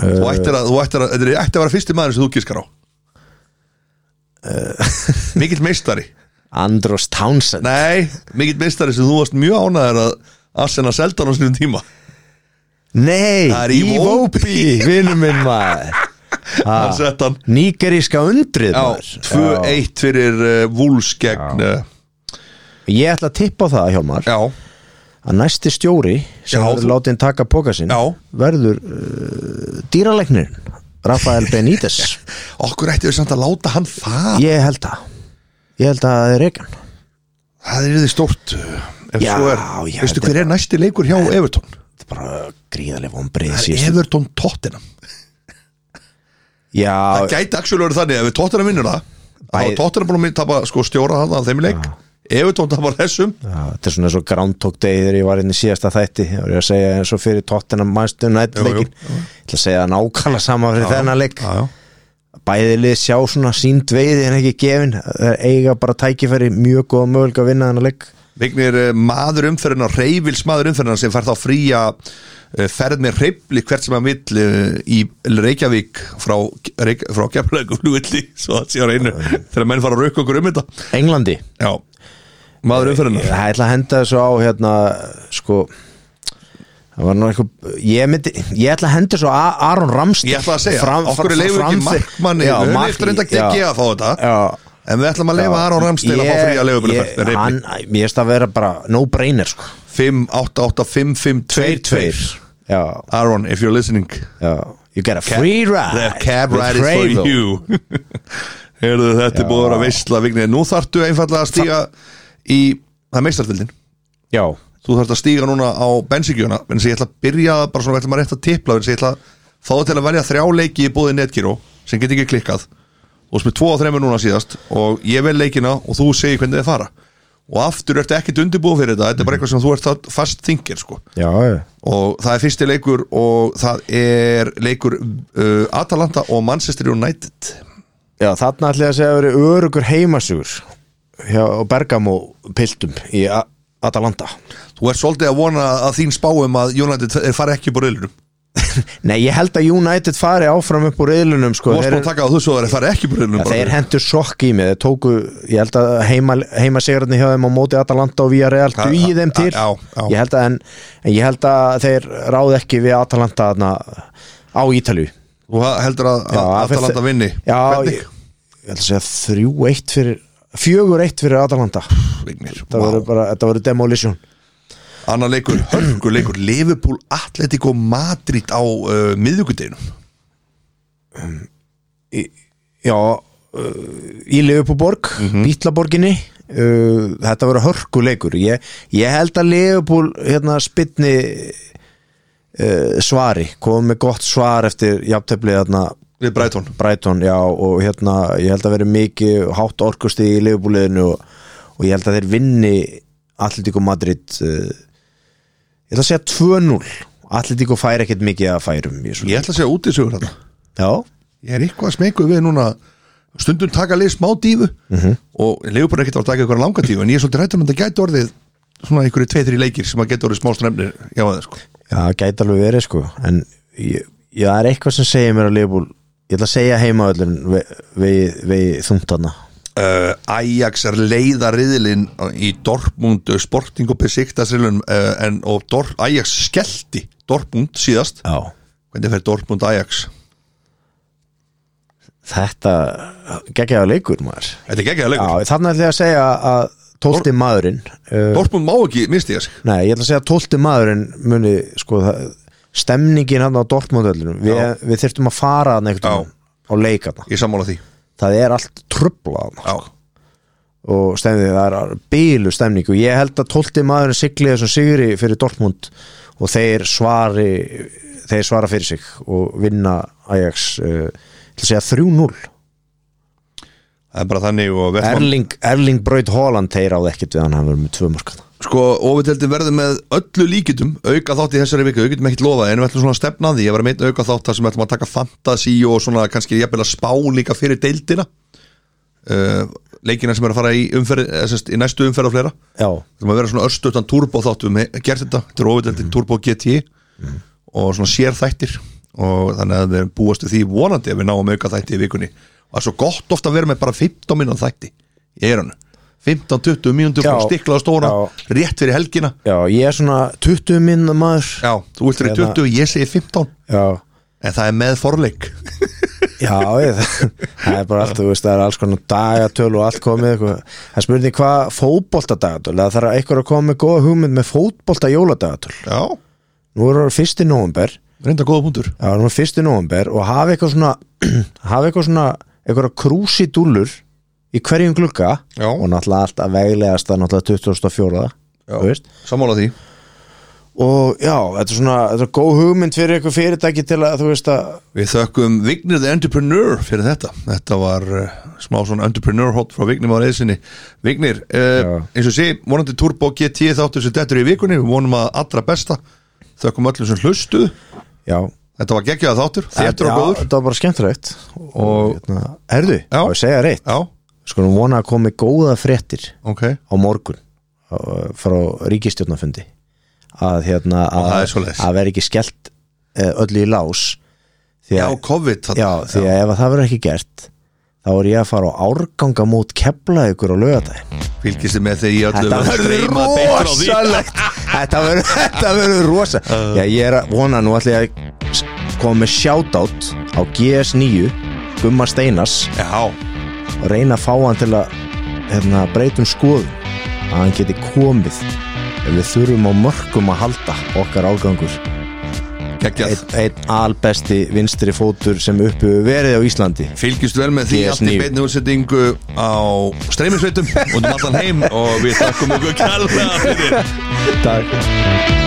Þú ættir að, þú ættir að, þetta er ætti að vera fyrsti maður sem þú gískar á Mikill meistari
Andros Townsend
Nei, mikill meistari sem þú varst mjög ánæður að Arsena seldan á sinum tíma
Nei,
Það er Ivo
Ivobi, vinur minn maður
Hann sett hann
Nígeríska undrið
Já,
maður.
2-1 fyrir uh, Wolves gegn uh,
Ég ætla að tippa á það, Hjálmar
Já,
að næsti stjóri sem
Já,
verður
þú-
látið taka póka sinn
Já.
verður uh, dýralæknir Rafael Benítez
okkur ætti við samt að láta hann það
ég held að ég held að það er ekki hann
Það er þið stórt uh, Ef
Já,
svo er,
já,
veistu
þetta-
hver er næsti leikur hjá Everton?
það er bara gríðarlega vonbrið
Það er
síðustu
Everton Tottenham
já,
Það gæti actually verið þannig ef við Tottenham vinnur það Þá
Bæði-
er Tottenham búin að tapa sko stjóra hann að þeim í leik Evertón tapar þessum
Já, þetta er svona svo Groundhog Day þegar ég var inn í síðasta þætti þá er ég að segja eins og fyrir tóttina mæstu
Jú, jú,
nættleikin
jú.
ég ætla að segja nákvæmlega sama fyrir þennan leik
já, já.
bæði lið sjá svona sínd veiði en ekki gefin þeir eiga bara tækifæri mjög góða möguleika að vinna þennan leik
Vignir eh, maður umferðina Reyvils maður umferðina sem fær þá fría eh, ferð með reyfli hvert sem hann vill eh, í Reykjavík frá, Reyk, frá Keflavík svo það sé á reynu þegar menn fara að rauka okkur um þetta
Englandi,
Já, maður
Eh,
umferðina
það ætla að henda þessu á hérna, sko það var nú eitthvað ég, myndi, ég ætla að henda þessu á A- Aron Ramstil
Ég ætla að segja, okkur er leifur ekki markmanni
Já,
Við höfum
mark-
eftir reynda að
já.
gegja að fá þetta
Já,
En við ætlum að leifa Aron Ramstil að fá
Ég-
fría leifubunni
ég- hann- Mér finnst að vera bara no brainer sko
5, 8, 8, 5, 5, 2, 2
Já,
Aron, if you're listening
já You get a free ride
The cab
with
ride is for
Freyvel.
you Heyrðu, þetta er búið að vera veistla Vignir, nú þarftu einfallega að stíga í, það er meistartildin
Já,
Þú þarft að stíga núna á bensinkjöna en þess að ég ætla að byrja, bara svona við ætlum að rétt að tipla en þess að ég ætla að fá það til að velja þrjá leiki í búið netgyró sem get ekki klikkað og sem er tvo og þreymur núna síðast og ég vel leikina og þú segir hvernig þið fara og aftur ertu ekkit undirbúið fyrir þetta þetta er bara eitthvað sem þú ert það fast þingir sko.
já, já.
og það er fyrsti leikur og það er leikur uh, Atalanta og Manchester United
já þarna ætla ég að segja að vera örugur heimasugur hjá Bergamo piltum í A- Atalanta
þú ert svolítið að vona að þín spáum að United er fara ekki upp úr reilunum
Nei, ég held að United fari áfram upp úr eðlunum sko,
þú varst
þeir,
búin að taka á þessu að það er fara ekki upp úr
ja,
reilunum
þeir hendur sokk í mig þeir tóku, ég held að heima, heima sigrarni hjá þeim á móti Atalanta og Villarreal dugi þeim til
já, já.
Ég held að, en, en ég held að þeir ráð ekki við Atalanta þarna á Ítalju
Þú heldur að,
Já,
að Atalanta
fyrst-
vinni
Já,
Hvernig?
ég, ég held að segja þrjú eitt fyrir fjögur eitt fyrir Atalanta
Vignir,
Þetta wow. verður bara, þetta verður demolition
Annar leikur, hörgur leikur Liverpool, Atletico, Madrid á uh, miðvíkudeginu
Já, uh, í Leifupúborg, mm Bítlaborginni uh, Þetta verður hörkuleikur ég, ég held að Leifupúl hérna spytni uh, svari, komið með gott svar eftir jafnteflið hérna
Við Brighton
Brighton, já, og hérna ég held að vera mikið hátt orkusti í liðbúliðinu og, og ég held að þeir vinni Atletico Madrid uh, ég ætla að segja 2-0 Atletico fær ekkert mikið að færum í þessu
Ég ætla að segja út í sögur þetta
Já,
Ég er eitthvað að smeyku við núna Stundum taka lið smá dífu
Mhm.
Og Liverpool er ekkert að taka eitthvað langa dífu En ég er svolítið rættum að þetta gæti orðið Svona einhverju tveið-þri leikir sem að geta orðið smá stremnir Já, það sko
já, gæti alveg verið sko en ég, ég það er eitthvað sem segir mér að liðbúl ég ætla að segja heima öllum vegi ve, ve, þungtana
uh, Ajax er leiða riðilinn í Dortmund uh, Sporting og Besiktas riðilinn uh, en, og Dor Ajax skellti Dortmund síðast
Já,
hvernig fer Dortmund Ajax
þetta geggjaða leikur maður
Þetta er geggjæða leikur,
Já, þannig ætla ég að segja að 12. maðurinn uh,
Dortmund má ekki misti ég sig
Nei, ég ætla að segja að tólti maðurinn muni, sko, það, stemningin hann á Dortmundöllinu, Vi,
Já.
við þyrftum að fara hann
Já.
eitthvað á leikana
ég sammála því
það er allt trubla hann
Já,
og stemningin, það er bílu stemning og ég held að tólti maðurinn sigli þessum sigri fyrir Dortmund og þeir svari þeir svara fyrir sig og vinna Ajax, uh, ég ætla að segja 3-0
það er bara þannig og við ætlum að-
Erling, Erling Braut Haaland þeir áð ekkit við hann, hann verður með tvö mörkana
sko, ofiteldin verður með öllu líkitum auka þátt í þessari viku, við getum ekkert lofa en við ætlum svona að stefna að því, ég var að meina auka þátt þar sem við ætlum að taka fantasi og svona kannski jafnvel að spá líka fyrir deildina uh, leikina sem er að fara í, umferð, eh, sem sagt, í næstu umferð og fleira
Já,
þurfum að vera svona örstutan turbo þáttu með gert þetta, þetta er ofiðeldin turbo GT Mhm. og svona sér þættir og þannig að við búast við því vonandi að við náum auka þætti í vikunni og það er svo gott ofta að vera með bara 15 mínúna þætti í eiranu 15-20 mínútur
Já.
frá stiklað stóra
Já.
rétt fyrir helgina
Já ég er svona 20 minna maður
já, þú vilt fyrir
Eða-
20, ég segi 15
Já.
en það er með forleik
Já, ég, það, það er bara allt, þú veist, það er alls konar dagatöl og allt komið eitthvað. Það er spurning hvað fótbolta dagatöl, það þarf eitthvað að koma með góða hugmynd með fótbolta jóladagatöl.
já,
Nú er það fyrsti november,
reynda góða punktur
já, nú er fyrsti november og hafa eitthvað svona, hafa eitthvað svona, eitthvað krúsi dúllur í hverjum glugga
Já.
og náttúrulega allt að veglegast að náttúrulega 2004, þú veist,
sammála því
og já, þetta er svona þetta er góð hugmynd fyrir eitthvað fyrirtæki til að þú veist að
Við þökkum Vignir the Entrepreneur fyrir þetta. Þetta var uh, smá svona entrepreneur hot frá Vignir maður eðsinni. Vignir, uh,
Já.
eins og sé, vonandi Turbo GT þáttur sem dettur í vikunni, við vonum að allra besta. Þökkum öllum sem hlustuð.
já,
Þetta var geggjað þáttur,
þetta,
þéttur og góður.
þetta var bara skemmtilegt og hérna, herðu,
Já.
á ég að segja reitt
Já,
sko nú vona að komi góða fréttir
ok.
á morgun á- frá ríkistjórnafundi að hérna að,
það er svoleiðis.
að vera ekki skellt eh, öllu í lás því
Já,
að,
COVID. þarna.
já, því að ef að það verður ekki gert þá er ég að fara á árgangamót kepla ykkur á lögadaginn
Mm. Fylgist þið með þegar ég öllu
Þetta verður
streyma beint frá því. Uh.
rosalegt Þetta verður- þetta verður rosa Já, ég er að vona nú ætla ég að s- koma með shoutout á GS9 Gumma Steinas
Já,
og reyna að fá hann til að hérna, breytum skoðum að hann geti komið ef við þurfum á mörgum að halda okkar ágangur
geggjað.
einn ein albesti vinstri fótur sem uppi hefur verið á Íslandi
Fylgist vel með því
DS9.
allt í beinni útsettingu á streymisveitum og um allan heim og við þakkum okkur kærlega fyrir.
Takk